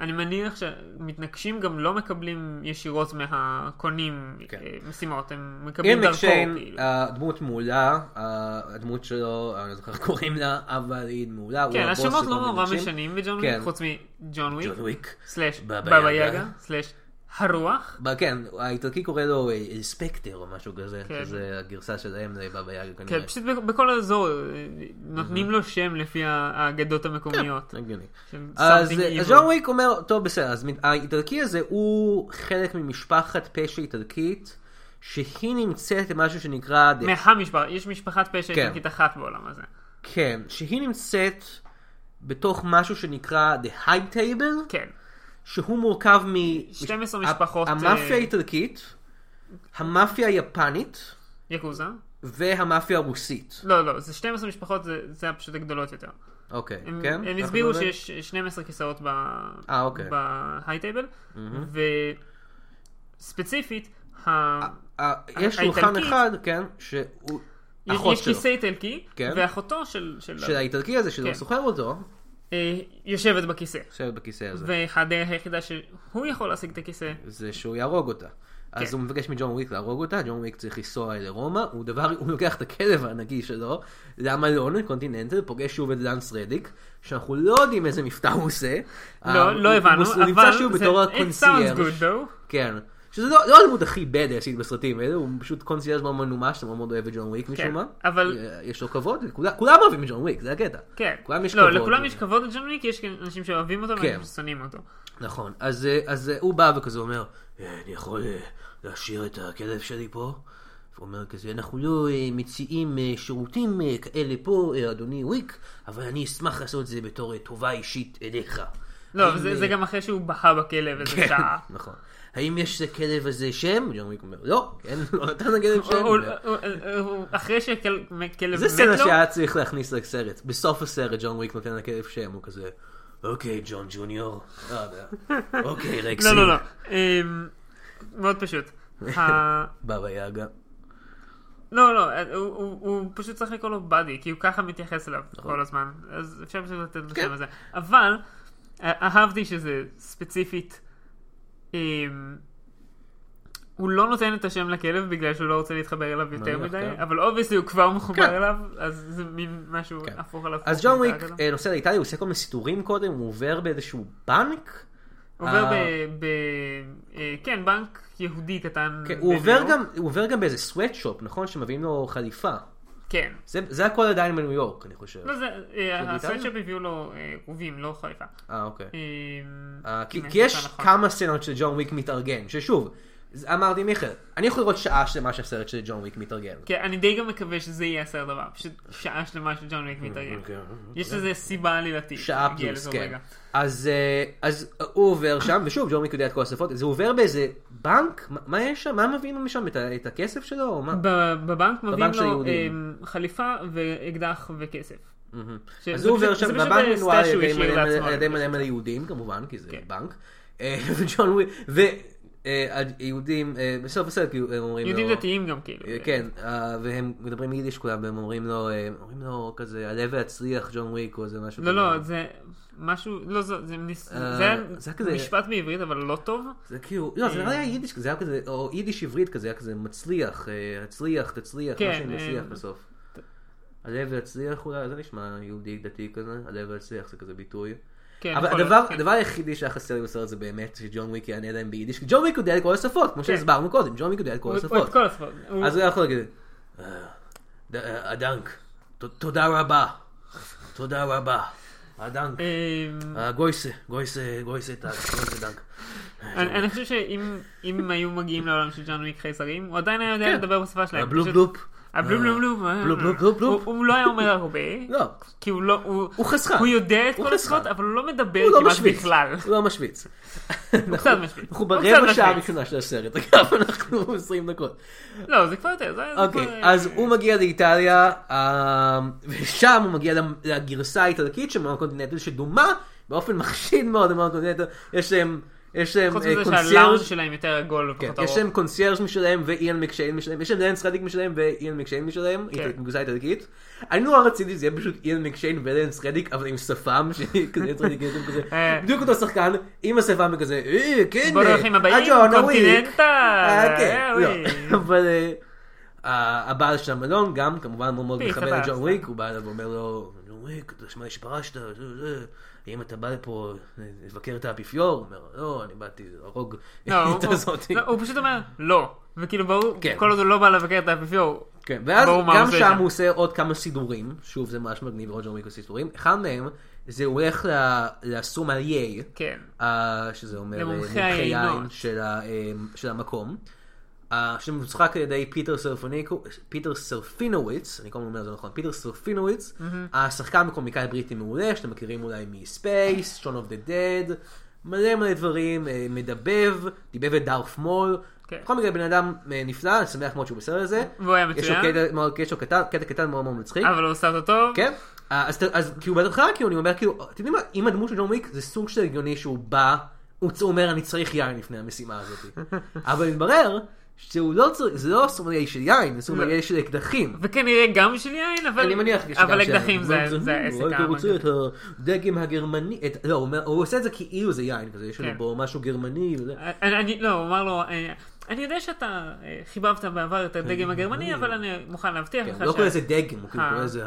Speaker 2: אני מניח שמתנגשים גם לא מקבלים ישירות מהקונים
Speaker 1: כן. אה,
Speaker 2: אה, משימות, הם
Speaker 1: אין
Speaker 2: מקבלים דרכו.
Speaker 1: מקשיין,
Speaker 2: כאילו.
Speaker 1: הדמות מעולה, אה, הדמות שלו, אני לא זוכר איך קוראים לה, אבל היא מעולה. הוא
Speaker 2: כן,
Speaker 1: הבוס
Speaker 2: השמות
Speaker 1: של
Speaker 2: לא
Speaker 1: כל
Speaker 2: נורא
Speaker 1: המתנגשים.
Speaker 2: משנים בג'ון
Speaker 1: כן.
Speaker 2: וויק, חוץ מג'ון וויק,
Speaker 1: ג'ון וויק.
Speaker 2: סלאש
Speaker 1: בבא
Speaker 2: בבא
Speaker 1: יגה.
Speaker 2: יגה, סלאש הרוח.
Speaker 1: אבל כן, האיטלקי קורא לו אה, אינספקטר או משהו כזה,
Speaker 2: כן.
Speaker 1: שזה הגרסה שלהם לבבא יאגה כנראה.
Speaker 2: כן, פשוט בכ- בכל אזור אה,
Speaker 1: Mm-hmm.
Speaker 2: נותנים לו שם לפי האגדות המקומיות.
Speaker 1: הגיוני.
Speaker 2: של
Speaker 1: כן. אז אה,
Speaker 2: something
Speaker 1: אז
Speaker 2: evil.
Speaker 1: ג'ון וויק אומר, טוב בסדר, אז האיטלקי הזה הוא חלק ממשפחת פשע איטלקית, שהיא נמצאת במשהו שנקרא, The-
Speaker 2: מהמשפחה, יש משפחת פשע
Speaker 1: כן.
Speaker 2: איטלקית אחת בעולם הזה.
Speaker 1: כן, שהיא נמצאת בתוך משהו שנקרא The High Table,
Speaker 2: כן.
Speaker 1: שהוא מורכב מ...
Speaker 2: 12 משפחות,
Speaker 1: המאפיה
Speaker 2: אה,
Speaker 1: האיטלקית, המאפיה היפנית
Speaker 2: יקוזה?
Speaker 1: והמאפיה הרוסית.
Speaker 2: לא, לא, זה 12 משפחות, זה, זה פשוט הגדולות יותר.
Speaker 1: אוקיי,
Speaker 2: הם,
Speaker 1: כן?
Speaker 2: הם
Speaker 1: אנחנו
Speaker 2: הסבירו
Speaker 1: מדברים?
Speaker 2: שיש 12 כיסאות ב...
Speaker 1: אה, אוקיי. Mm-hmm.
Speaker 2: בהייטייבל, וספציפית, ה...
Speaker 1: אה, יש שולחן
Speaker 2: האיטלקית-
Speaker 1: אחד, כן, שהוא
Speaker 2: יש,
Speaker 1: אחות
Speaker 2: יש
Speaker 1: שלו,
Speaker 2: כיסא איטלקי,
Speaker 1: כן.
Speaker 2: ואחותו של... של...
Speaker 1: של האיטלקי הזה, שלא
Speaker 2: כן.
Speaker 1: סוחר אותו,
Speaker 2: אה, יושבת בכיסא.
Speaker 1: יושב בכיסא הזה,
Speaker 2: והדרך היחידה שהוא יכול להשיג את הכיסא,
Speaker 1: זה שהוא יהרוג אותה. אז
Speaker 2: כן.
Speaker 1: הוא מבקש מג'ון וויק להרוג אותה, ג'ון וויק צריך לנסוע לרומא, הוא דבר, הוא לוקח את הכלב הענקי שלו למלון, קונטיננטל, פוגש שוב את לנס רדיק, שאנחנו לא יודעים איזה מבטא הוא עושה.
Speaker 2: לא, לא הבנו,
Speaker 1: אה, הוא,
Speaker 2: אבל
Speaker 1: הוא נמצא שוב
Speaker 2: זה-
Speaker 1: בתור
Speaker 2: it sounds
Speaker 1: הקונסיירש.
Speaker 2: good though.
Speaker 1: כן. שזה לא, לא הדמות הכי בדאסית בסרטים האלה, הוא פשוט קונסיירס מאוד מנומש, אתה מאוד מאוד אוהב את ג'ון וויק משום
Speaker 2: כן,
Speaker 1: מה.
Speaker 2: אבל-
Speaker 1: אה, יש לו כבוד, כולם, כולם אוהבים את ג'ון וויק, זה הקטע.
Speaker 2: כן.
Speaker 1: לכולם יש
Speaker 2: לא,
Speaker 1: כבוד.
Speaker 2: לכולם יש כבוד לג'ון וויק, יש כאן אנשים שאוהבים אותו
Speaker 1: כן.
Speaker 2: ואנשים ששונאים אותו.
Speaker 1: נכון, אז, אה, אז אה, הוא בא וכזה אומר, "אה, אני יכול אה, להשאיר את הכלב שלי פה? הוא אומר כזה, אנחנו לא אה, מציעים אה, שירותים אה, כאלה פה, אה, אדוני וויק, אבל אני אשמח לעשות את זה בתור אה, טובה אישית אליך.
Speaker 2: לא,
Speaker 1: האם,
Speaker 2: אבל זה
Speaker 1: אה,
Speaker 2: זה גם אחרי שהוא בהה בכלב איזה
Speaker 1: כן,
Speaker 2: שעה.
Speaker 1: נכון. האם יש לכלב הזה שם? ג'ון וויק אומר, לא, כן, לא נתן לכלב שם.
Speaker 2: הוא-
Speaker 1: הוא
Speaker 2: הוא-
Speaker 1: אומר,
Speaker 2: הוא- הוא- אחרי שכלב מת לו,
Speaker 1: זה סצנה שהיה צריך להכניס לסרט. בסוף הסרט ג'ון וויק נותן לכלב שם, הוא כזה, אוקיי, ג'ון ג'וניור. לא יודע. אוקיי, רקסי.
Speaker 2: לא, לא, לא. אמ, מאוד פשוט. ה-
Speaker 1: בבא יאגה.
Speaker 2: לא, לא, הוא- הוא- הוא פשוט צריך לקרוא לו באדי, כי הוא ככה מתייחס אליו כל הזמן. אז אפשר פשוט לתת לו את
Speaker 1: נכון. כן.
Speaker 2: השם הזה. אבל, אה, אהבתי שזה ספציפית. אמ, הוא לא נותן את השם לכלב בגלל שהוא לא רוצה להתחבר אליו יותר
Speaker 1: מניח,
Speaker 2: מדי,
Speaker 1: כן.
Speaker 2: אבל אובייסלי הוא כבר
Speaker 1: כן.
Speaker 2: מחובר אליו, אז זה מין משהו
Speaker 1: כן.
Speaker 2: הפוך על הפוך.
Speaker 1: אז ג'ון וויק
Speaker 2: כזה.
Speaker 1: אה, נוסע לאיטליה, הוא עושה כל מיני סידורים קודם, הוא עובר באיזשהו בנק.
Speaker 2: הוא עובר ב...
Speaker 1: אה,
Speaker 2: ב... אה, כן, בנק יהודי קטן.
Speaker 1: כן, הוא עובר
Speaker 2: בניו יורק.
Speaker 1: גם- הוא עובר גם באיזה סוואטשופ, נכון? שמביאים לו חליפה.
Speaker 2: כן.
Speaker 1: זה- זה הכל עדיין בניו יורק, אני חושב.
Speaker 2: לא, זה... אה,
Speaker 1: באיטליה?
Speaker 2: הסוואטשופ הביאו לו אה, רובים, לא חליפה.
Speaker 1: אה, אוקיי.
Speaker 2: אה,
Speaker 1: אה, כי
Speaker 2: אם
Speaker 1: כי
Speaker 2: אני
Speaker 1: יש
Speaker 2: זוכר נכון.
Speaker 1: כמה סצנות של ג'ון וויק מתארגן, ששוב, זה- אמרתי מיכאל, אני יכול לראות שעה שלמה שהסרט של ג'ון וויק מתארגן.
Speaker 2: כן, אני די גם מקווה שזה יהיה הסרט הבא, פשוט שעה שלמה שג'ון וויק מתארגן.
Speaker 1: אוקיי.
Speaker 2: יש לזה סיבה עלילתית.
Speaker 1: שעה
Speaker 2: נגיע
Speaker 1: פלוס,
Speaker 2: לזה
Speaker 1: כן.
Speaker 2: רגע.
Speaker 1: אז אה, אז הוא עובר שם, ושוב, ג'ון וויק יודע את כל השפות, אז הוא עובר באיזה בנק? מה- מה יש שם? מה מביאים משם? את ה- את הכסף שלו? או מה?
Speaker 2: ב- בבנק מביאים
Speaker 1: של
Speaker 2: לו
Speaker 1: יהודים.
Speaker 2: אה, חליפה ואקדח וכסף. ש-
Speaker 1: Mm-hmm. אז
Speaker 2: זה
Speaker 1: הוא
Speaker 2: פשוט-
Speaker 1: עובר
Speaker 2: זה
Speaker 1: שם
Speaker 2: פשוט
Speaker 1: בבנק
Speaker 2: סטאצ'
Speaker 1: מנוהל על
Speaker 2: שהוא
Speaker 1: ידי
Speaker 2: השאיר
Speaker 1: מלא-
Speaker 2: לעצמו.
Speaker 1: על ידי מלא מלא יהודים כמובן, כי זה
Speaker 2: כן.
Speaker 1: בנק. אה, וג'ון אה, וויק, ויהודים, בסוף הסרט כאילו, הם אומרים לו...
Speaker 2: יהודים דתיים גם כאילו.
Speaker 1: אה, כן, אה, והם מדברים יידיש כולם, והם אומרים לו, אה, אומרים לו כזה, הלב והצליח ג'ון וויק או איזה משהו.
Speaker 2: לא,
Speaker 1: כזה.
Speaker 2: לא, זה משהו, לא, זה זה ניס-
Speaker 1: אה,
Speaker 2: זה היה
Speaker 1: זה כזה-
Speaker 2: משפט בעברית, אבל לא טוב.
Speaker 1: זה כאילו, לא, זה
Speaker 2: אה.
Speaker 1: לא היה יידיש כזה, זה היה כזה, או יידיש עברית כזה, היה כזה מצליח, אה, הצליח, תצליח, מה
Speaker 2: כן,
Speaker 1: שאני
Speaker 2: אה,
Speaker 1: מצליח בסוף. הלב והצליח אולי, זה נשמע יהודי דתי כזה, הלב והצליח זה כזה ביטוי.
Speaker 2: כן,
Speaker 1: אבל
Speaker 2: יכול
Speaker 1: הדבר,
Speaker 2: להיות, כן.
Speaker 1: הדבר היחידי שהיה חסר לי בסרט זה באמת שג'ון וויק יענה להם ביידיש, כי ג'ון וויק יודע את כל השפות, כמו שהסברנו קודם, ג'ון וויק יודע את כל
Speaker 2: כן. הוא- הוא
Speaker 1: השפות.
Speaker 2: את כל השפות. הוא-
Speaker 1: אז הוא היה יכול להגיד, "אה, ד- אה, הדנק, ת- תודה רבה, תודה רבה, הדנק,
Speaker 2: אמ,
Speaker 1: אה, גויסה, גויסה, גויסה דנק, גויסה דנק.
Speaker 2: אני אני חושב שאם אם הם היו מגיעים לעולם של ג'ון וויק חייזרים, הוא עדיין היה יודע
Speaker 1: כן.
Speaker 2: לדבר בשפה שלהם.
Speaker 1: הבלופ
Speaker 2: פשוט-
Speaker 1: בלופ,
Speaker 2: הבלו בלו בלו,
Speaker 1: בלו, בלו, בלו, בלו.
Speaker 2: אה. הוא- הוא לא היה אומר הרבה,
Speaker 1: לא,
Speaker 2: כי הוא לא, הוא,
Speaker 1: הוא חסכן.
Speaker 2: הוא יודע את
Speaker 1: הוא
Speaker 2: כל
Speaker 1: חסכן.
Speaker 2: השפות, אבל הוא לא מדבר
Speaker 1: הוא לא
Speaker 2: כמעט
Speaker 1: משוויץ.
Speaker 2: בכלל.
Speaker 1: הוא לא משוויץ.
Speaker 2: קצת
Speaker 1: אנחנו-
Speaker 2: משוויץ.
Speaker 1: אנחנו
Speaker 2: הוא קצת
Speaker 1: ברבע שעה
Speaker 2: משוויץ.
Speaker 1: הראשונה של הסרט, אגב, אנחנו 20 דקות.
Speaker 2: לא, זה כבר יותר, זה זה כבר...
Speaker 1: אוקיי, אז הוא מגיע לאיטליה, אה, ושם הוא מגיע למ- לגרסה האיטלקית של מרון קונטיננטל, שדומה באופן מחשיד מאוד למרון קונטיננטל. יש להם יש להם,
Speaker 2: חוץ
Speaker 1: אה,
Speaker 2: מזה שהלאונג'
Speaker 1: קונסיירג'
Speaker 2: שלהם יותר עגול
Speaker 1: כן,
Speaker 2: ופחות
Speaker 1: יש
Speaker 2: ארוך.
Speaker 1: להם קונסיירג' משלהם ואיאן מקשיין משלהם, יש להם לרנס רדיק משלהם ואיאן מקשיין משלהם,
Speaker 2: כן.
Speaker 1: איטלק- גרסה איטלקית. אני נורא רציתי שזה יהיה פשוט איאן מקשיין ולרנס רדיק, אבל עם שפם, שכזה לרנס רדיק יש לו כזה,
Speaker 2: אה.
Speaker 1: בדיוק אותו שחקן, עם השפם וכזה, אה, כן,
Speaker 2: בוא נלך עם הבאים,
Speaker 1: הג'ון הוויק."
Speaker 2: קונטיננטל.
Speaker 1: אה, כן,
Speaker 2: אה,
Speaker 1: לא.
Speaker 2: אוי.
Speaker 1: אבל אה, ה- הבעל של המלון גם כמובן מאוד מאוד
Speaker 2: פי,
Speaker 1: מכבד
Speaker 2: סבבה,
Speaker 1: את ג'ון
Speaker 2: סבבה.
Speaker 1: וויק, הוא בא אליו ואומר לו, ג'ון וויק, אתה שמע לי שפרשת, זה, זה. האם אתה בא לפה אה, לבקר את האפיפיור? הוא אומר, לא, אני באתי להרוג
Speaker 2: לא, הוא-
Speaker 1: את הזאתי.
Speaker 2: לא, הוא פשוט אומר, לא. וכאילו ברור,
Speaker 1: כן.
Speaker 2: כל עוד הוא לא בא לבקר את האפיפיור.
Speaker 1: כן, ואז
Speaker 2: ברור מה הוא
Speaker 1: גם
Speaker 2: עושה
Speaker 1: שם
Speaker 2: שם.
Speaker 1: הוא עושה עוד כמה סידורים, שוב זה ממש מגניב, רוג'ר וויק עושה סידורים, אחד מהם זה הוא הולך ל- לסומליה,
Speaker 2: כן.
Speaker 1: אה, שזה אומר אה,
Speaker 2: למומחי
Speaker 1: מומחי
Speaker 2: היינות.
Speaker 1: יין של ה- אה, של המקום, אה, שמשחק על ידי פיטר סרפיניקו- פיטר סרפינוביץ, אני כל הזמן אומר את זה נכון, פיטר סרפינוביץ, השחקן וקומיקאי בריטי מעולה, שאתם מכירים אולי מספייס, שון אוף דה דד, מלא מלא דברים, אה, מדבב, דיבב את דארף מול,
Speaker 2: כן.
Speaker 1: בכל מקרה בן אדם אה, נפלא, אני שמח מאוד שהוא בסרט הזה.
Speaker 2: והוא היה
Speaker 1: יש לו
Speaker 2: מצוין,
Speaker 1: קטע מאוד- יש לו קטע קטע קטן מאוד מאוד מצחיק.
Speaker 2: אבל הוא עושה אותו טוב.
Speaker 1: כן? אה, אז, ת- אז כאילו בהתחלה כאילו אני אומר כאילו, אתם יודעים מה, אם הדמות של ג'ון וויק זה סוג של הגיוני שהוא בא, הוא צ- הוא אומר אני צריך יין לפני המשימה הזאת. אבל מתברר שהוא לא צריך, זה לא סומלי של יין, זה סומלי של אקדחים.
Speaker 2: וכנראה גם של יין, אבל...
Speaker 1: לא. אני מניח שיש
Speaker 2: אבל
Speaker 1: גם שם.
Speaker 2: אקדחים זה
Speaker 1: הוא
Speaker 2: זה
Speaker 1: אומר,
Speaker 2: העסק
Speaker 1: "הוא רוצה
Speaker 2: האמתי.
Speaker 1: את הדגם הגרמני, את- לא, הוא אומר- הוא עושה את זה כאילו זה יין כזה, יש לנו
Speaker 2: כן.
Speaker 1: בו משהו גרמני וזה.
Speaker 2: אני, אני, לא, הוא אמר לו, אה, אני יודע שאתה אה, חיבבת בעבר את הדגם הגרמני, אבל אני מוכן להבטיח
Speaker 1: כן,
Speaker 2: לך
Speaker 1: הוא לא קורא לזה דגם, הוא כאילו
Speaker 2: אה.
Speaker 1: קורא לזה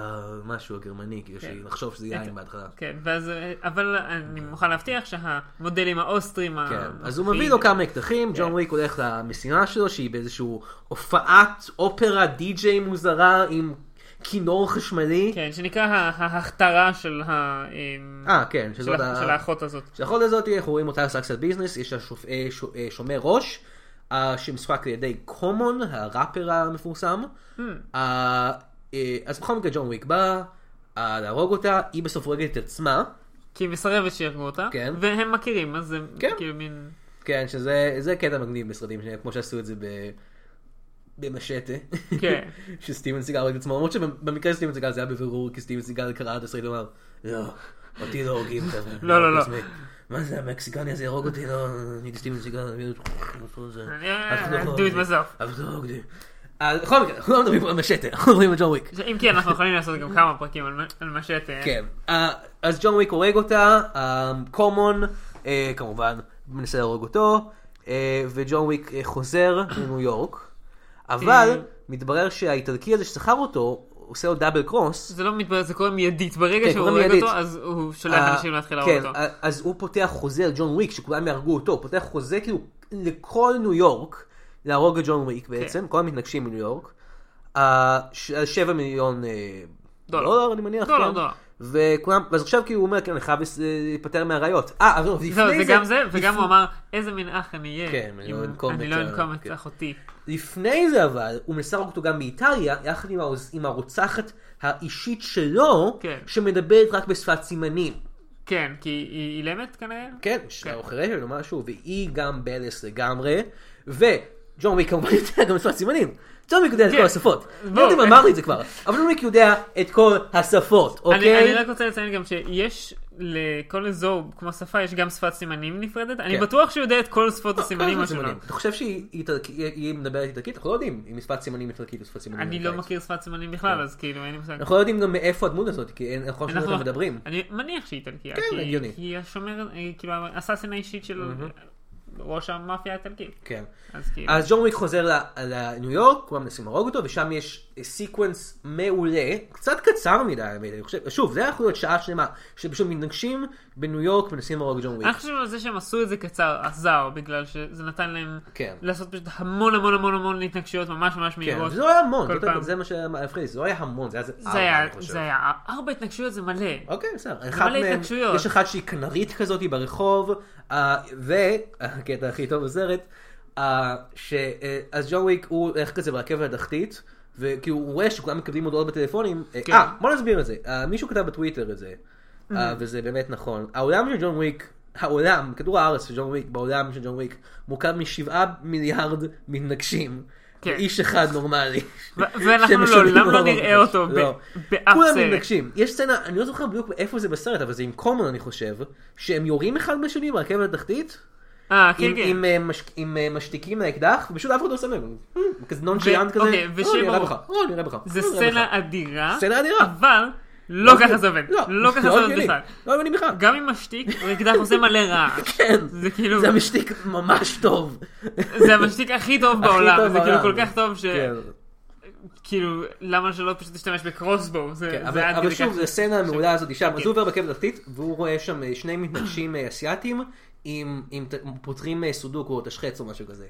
Speaker 1: משהו הגרמני, כאילו
Speaker 2: כן.
Speaker 1: שנחשוב שזה יין בהתחלה.
Speaker 2: כן, ואז, אה, אבל אני מוכן להבטיח שהמודלים האוסטרים...
Speaker 1: כן,
Speaker 2: המופיעים-
Speaker 1: אז הוא מביא לו כמה אקדחים, ג'ון וויק הולך למשימה שלו שהיא באיזשהו הופעת אופרה די-ג'יי מוזרה עם כינור חשמלי.
Speaker 2: כן, שנקרא ה- ההכתרה של ה... אה,
Speaker 1: אה, כן,
Speaker 2: של
Speaker 1: שזאת
Speaker 2: ה- של
Speaker 1: ה...
Speaker 2: האחות הזאת.
Speaker 1: שהחוד הזאת, אנחנו רואים אותה עושה קצת ביזנס, יש לה שופ- אה, ש- אה, שומר ראש, אה, שמשחק על ידי קומון, הראפר המפורסם. אה, אה, אז בכל מקרה ג'ון וויק בא אה, להרוג אותה, היא בסוף הורגת את עצמה.
Speaker 2: כי היא מסרבת שיהרגו אותה,
Speaker 1: כן.
Speaker 2: והם מכירים, אז זה
Speaker 1: כן.
Speaker 2: כאילו מין...
Speaker 1: כן, שזה זה קטע מגניב בסרטים, שלה, כמו שעשו את זה ב... במשטה.
Speaker 2: כן.
Speaker 1: שסטיבן סיגל הרג את עצמו, למרות שבמקרה של סטיבן סיגל זה היה בבירור, כי סטיבן סיגל קרא את הסרט ואמר, לא, אותי לא הורגים חבר'ה. אני
Speaker 2: לא, לא,
Speaker 1: הורג את
Speaker 2: לא.
Speaker 1: עצמי. מה זה המקסיקני הזה יהרוג אותי? לא, אני את סטיבן סיגל, אני את זה.
Speaker 2: אני-
Speaker 1: אף אחד לא
Speaker 2: I'll do
Speaker 1: הורג
Speaker 2: it
Speaker 1: אותי.
Speaker 2: myself.
Speaker 1: אף אחד לא הורג אותי. אז בכל מקרה, אנחנו לא מדברים פה על משטה, אנחנו מדברים על ג'ון וויק.
Speaker 2: אם כי אנחנו יכולים לעשות גם כמה פרקים על מה- על מה שאתה...
Speaker 1: כן, אה, אז ג'ון וויק הורג אותה, אה, קומון אה, כמובן מנסה להרוג אותו, אה, וג'ון וויק אה, חוזר לניו יורק, אבל מתברר שהאיטלקי הזה ששכר אותו, עושה לו דאבל קרוס.
Speaker 2: זה לא מתברר, זה קורה מיידית. ברגע
Speaker 1: כן,
Speaker 2: שהוא
Speaker 1: קורה
Speaker 2: הורג
Speaker 1: מיידית.
Speaker 2: אותו, אז הוא שולח
Speaker 1: אה,
Speaker 2: אנשים להתחיל להרוג
Speaker 1: כן,
Speaker 2: אותו.
Speaker 1: אה, אז הוא פותח חוזה על ג'ון וויק, שכולם יהרגו אותו, הוא פותח חוזה כאילו לכל ניו יורק להרוג את ג'ון
Speaker 2: כן.
Speaker 1: וויק בעצם, כל המתנגשים מניו יורק, אה, ש- על 7 מיליון אה,
Speaker 2: דולר.
Speaker 1: דולר אני מניח,
Speaker 2: דולר,
Speaker 1: כן?
Speaker 2: דולר.
Speaker 1: וכולם, ואז עכשיו כאילו הוא אומר, כן, אני חייב לס- להיפטר מהראיות. אה, אבל לא, לפני
Speaker 2: זהו,
Speaker 1: זה...
Speaker 2: זה גם זה, וגם
Speaker 1: לפ-
Speaker 2: הוא אמר, איזה מין אח אני אהיה.
Speaker 1: כן, אני
Speaker 2: אם
Speaker 1: לא אנקום
Speaker 2: אני
Speaker 1: את
Speaker 2: לא
Speaker 1: ה-
Speaker 2: אנקום את
Speaker 1: כן.
Speaker 2: אחותי.
Speaker 1: לפני זה אבל, הוא מנסה להרוג אותו גם באיטליה, יחד עם העוז- עם הרוצחת האישית שלו,
Speaker 2: כן.
Speaker 1: שמדברת רק בשפת סימנים.
Speaker 2: כן, כי היא אילמת כנראה?
Speaker 1: כן, שלה אוכלת או משהו, והיא גם בלס לגמרי, וג'ון וויק כמובן יודע גם שפת סימנים. ג'ון וויק יודע את
Speaker 2: כן.
Speaker 1: כל השפות.
Speaker 2: בוא,
Speaker 1: לא יודעים,
Speaker 2: אה.
Speaker 1: אמרתי את זה כבר, אבל ג'ון וויק יודע את כל השפות,
Speaker 2: אני, אני
Speaker 1: אוקיי?
Speaker 2: רק רוצה לציין גם שיש לכל אזור, כמו שפה, יש גם שפת סימנים נפרדת. אני
Speaker 1: כן. לא,
Speaker 2: בטוח שהוא יודע את כל שפות הסימנים
Speaker 1: כל
Speaker 2: השונות.
Speaker 1: אתה חושב שהיא איטלק- היא מדברת איטלקית? אנחנו לא יודעים אם היא שפת סימנים איטלקית או שפת סימנים
Speaker 2: אני לא
Speaker 1: אמריקאית.
Speaker 2: מכיר שפת סימנים בכלל, אז כאילו, אין לי מושג.
Speaker 1: כן. אנחנו לא יודעים גם מאיפה הדמות הזאת, כי אין- אנחנו לא שומעים אותה מדברים.
Speaker 2: אני מניח שהיא איטלקיה.
Speaker 1: כן,
Speaker 2: כי-
Speaker 1: הגיוני.
Speaker 2: כי השומר, אה, כאילו, האסאסין האישית של ראש המאפיה האיטלקית.
Speaker 1: כן.
Speaker 2: אז כאילו,
Speaker 1: אז ג'ון וויק חוזר ל- לניו יורק, כולם מנסים להרוג אותו, ושם יש אה, סיקוונס מעולה, קצת קצר מדי, האמת, אני חושב, שוב, זה היה יכול להיות שעה שלמה, שפשוט מתנגשים בניו יורק מנסים להרוג את ג'ון וויק.
Speaker 2: אני חושב על זה שהם עשו את זה קצר עזר, בגלל שזה נתן להם
Speaker 1: כן.
Speaker 2: לעשות פשוט המון המון המון המון התנגשויות ממש ממש
Speaker 1: כן,
Speaker 2: מהירות.
Speaker 1: זה לא היה המון,
Speaker 2: כל
Speaker 1: זאת-
Speaker 2: פעם.
Speaker 1: זה מה שהיה מפחיד, זה לא היה המון, זה היה איזה
Speaker 2: זה
Speaker 1: ארבע,
Speaker 2: היה,
Speaker 1: אני חושב.
Speaker 2: זה היה, ארבע התנגשויות זה מלא.
Speaker 1: אוקיי, בסדר. אחד
Speaker 2: מלא
Speaker 1: מהם,
Speaker 2: התנגשויות.
Speaker 1: יש אחת שהיא כנרית כזאת היא ברחוב, אה, והקטע הכי טוב בסרט, אה, ש... אה, אז ג'ון וויק הוא הולך כזה ברכבת התחתית, וכאילו הוא רואה שכולם מקבלים הודעות בטלפונים. אה,
Speaker 2: כן. Mm-hmm.
Speaker 1: אה, בוא נסביר את זה. אה, מישהו כתב בטוויטר את זה, אה, וזה באמת נכון. העולם של ג'ון וויק, העולם, כדור הארץ של ג'ון וויק, בעולם של ג'ון וויק, מורכב משבעה מיליארד מתנגשים.
Speaker 2: כן.
Speaker 1: איש אחד נורמלי.
Speaker 2: ו- ואנחנו
Speaker 1: שמשלמים
Speaker 2: לעולם לא
Speaker 1: לו
Speaker 2: נראה
Speaker 1: בראש.
Speaker 2: אותו ב-
Speaker 1: לא.
Speaker 2: באף
Speaker 1: כולם
Speaker 2: סרט.
Speaker 1: מתנגשים. יש סצנה, אני לא זוכר בדיוק איפה זה בסרט, אבל זה עם קומן אני חושב, שהם יורים אחד בשני ברכבת התחתית.
Speaker 2: אה, כן,
Speaker 1: עם,
Speaker 2: כן.
Speaker 1: עם, אה, מש, עם אה, משתיקים לאקדח, ופשוט אף אחד לא שם לב. אה, כזה נון שיאנט כזה.
Speaker 2: אוקיי,
Speaker 1: "אה,
Speaker 2: ושיהיה
Speaker 1: נראה
Speaker 2: ברור.
Speaker 1: בך, אה, נראה בך.
Speaker 2: זה
Speaker 1: אה, נראה בך."
Speaker 2: סצנה אדירה,
Speaker 1: סצנה אדירה.
Speaker 2: אבל לא ככה זה עובד. לא ככה זה עובד
Speaker 1: הגיוני.
Speaker 2: בכלל.
Speaker 1: לא הגיוני בכלל.
Speaker 2: גם עם משתיק, אקדח עושה מלא רעש.
Speaker 1: כן.
Speaker 2: זה כאילו,
Speaker 1: זה משתיק ממש טוב.
Speaker 2: זה המשתיק הכי טוב
Speaker 1: הכי
Speaker 2: בעולם.
Speaker 1: טוב
Speaker 2: זה כאילו כל
Speaker 1: בעולם.
Speaker 2: כך טוב ש...
Speaker 1: כן,
Speaker 2: כאילו, למה שלא פשוט תשתמש בקרוסבו? זה-
Speaker 1: כן,
Speaker 2: זה
Speaker 1: אבל
Speaker 2: עד
Speaker 1: אבל
Speaker 2: כדי
Speaker 1: שוב,
Speaker 2: כך. כן.
Speaker 1: זו סצנה המעולה הזאת שם. אז הוא עובר ברכבת התחתית, והוא רואה שם אה, שני מתנגשים אה, אסיאתים, עם- עם ת- פותרים אה, סודוקו או תשחץ או משהו כזה.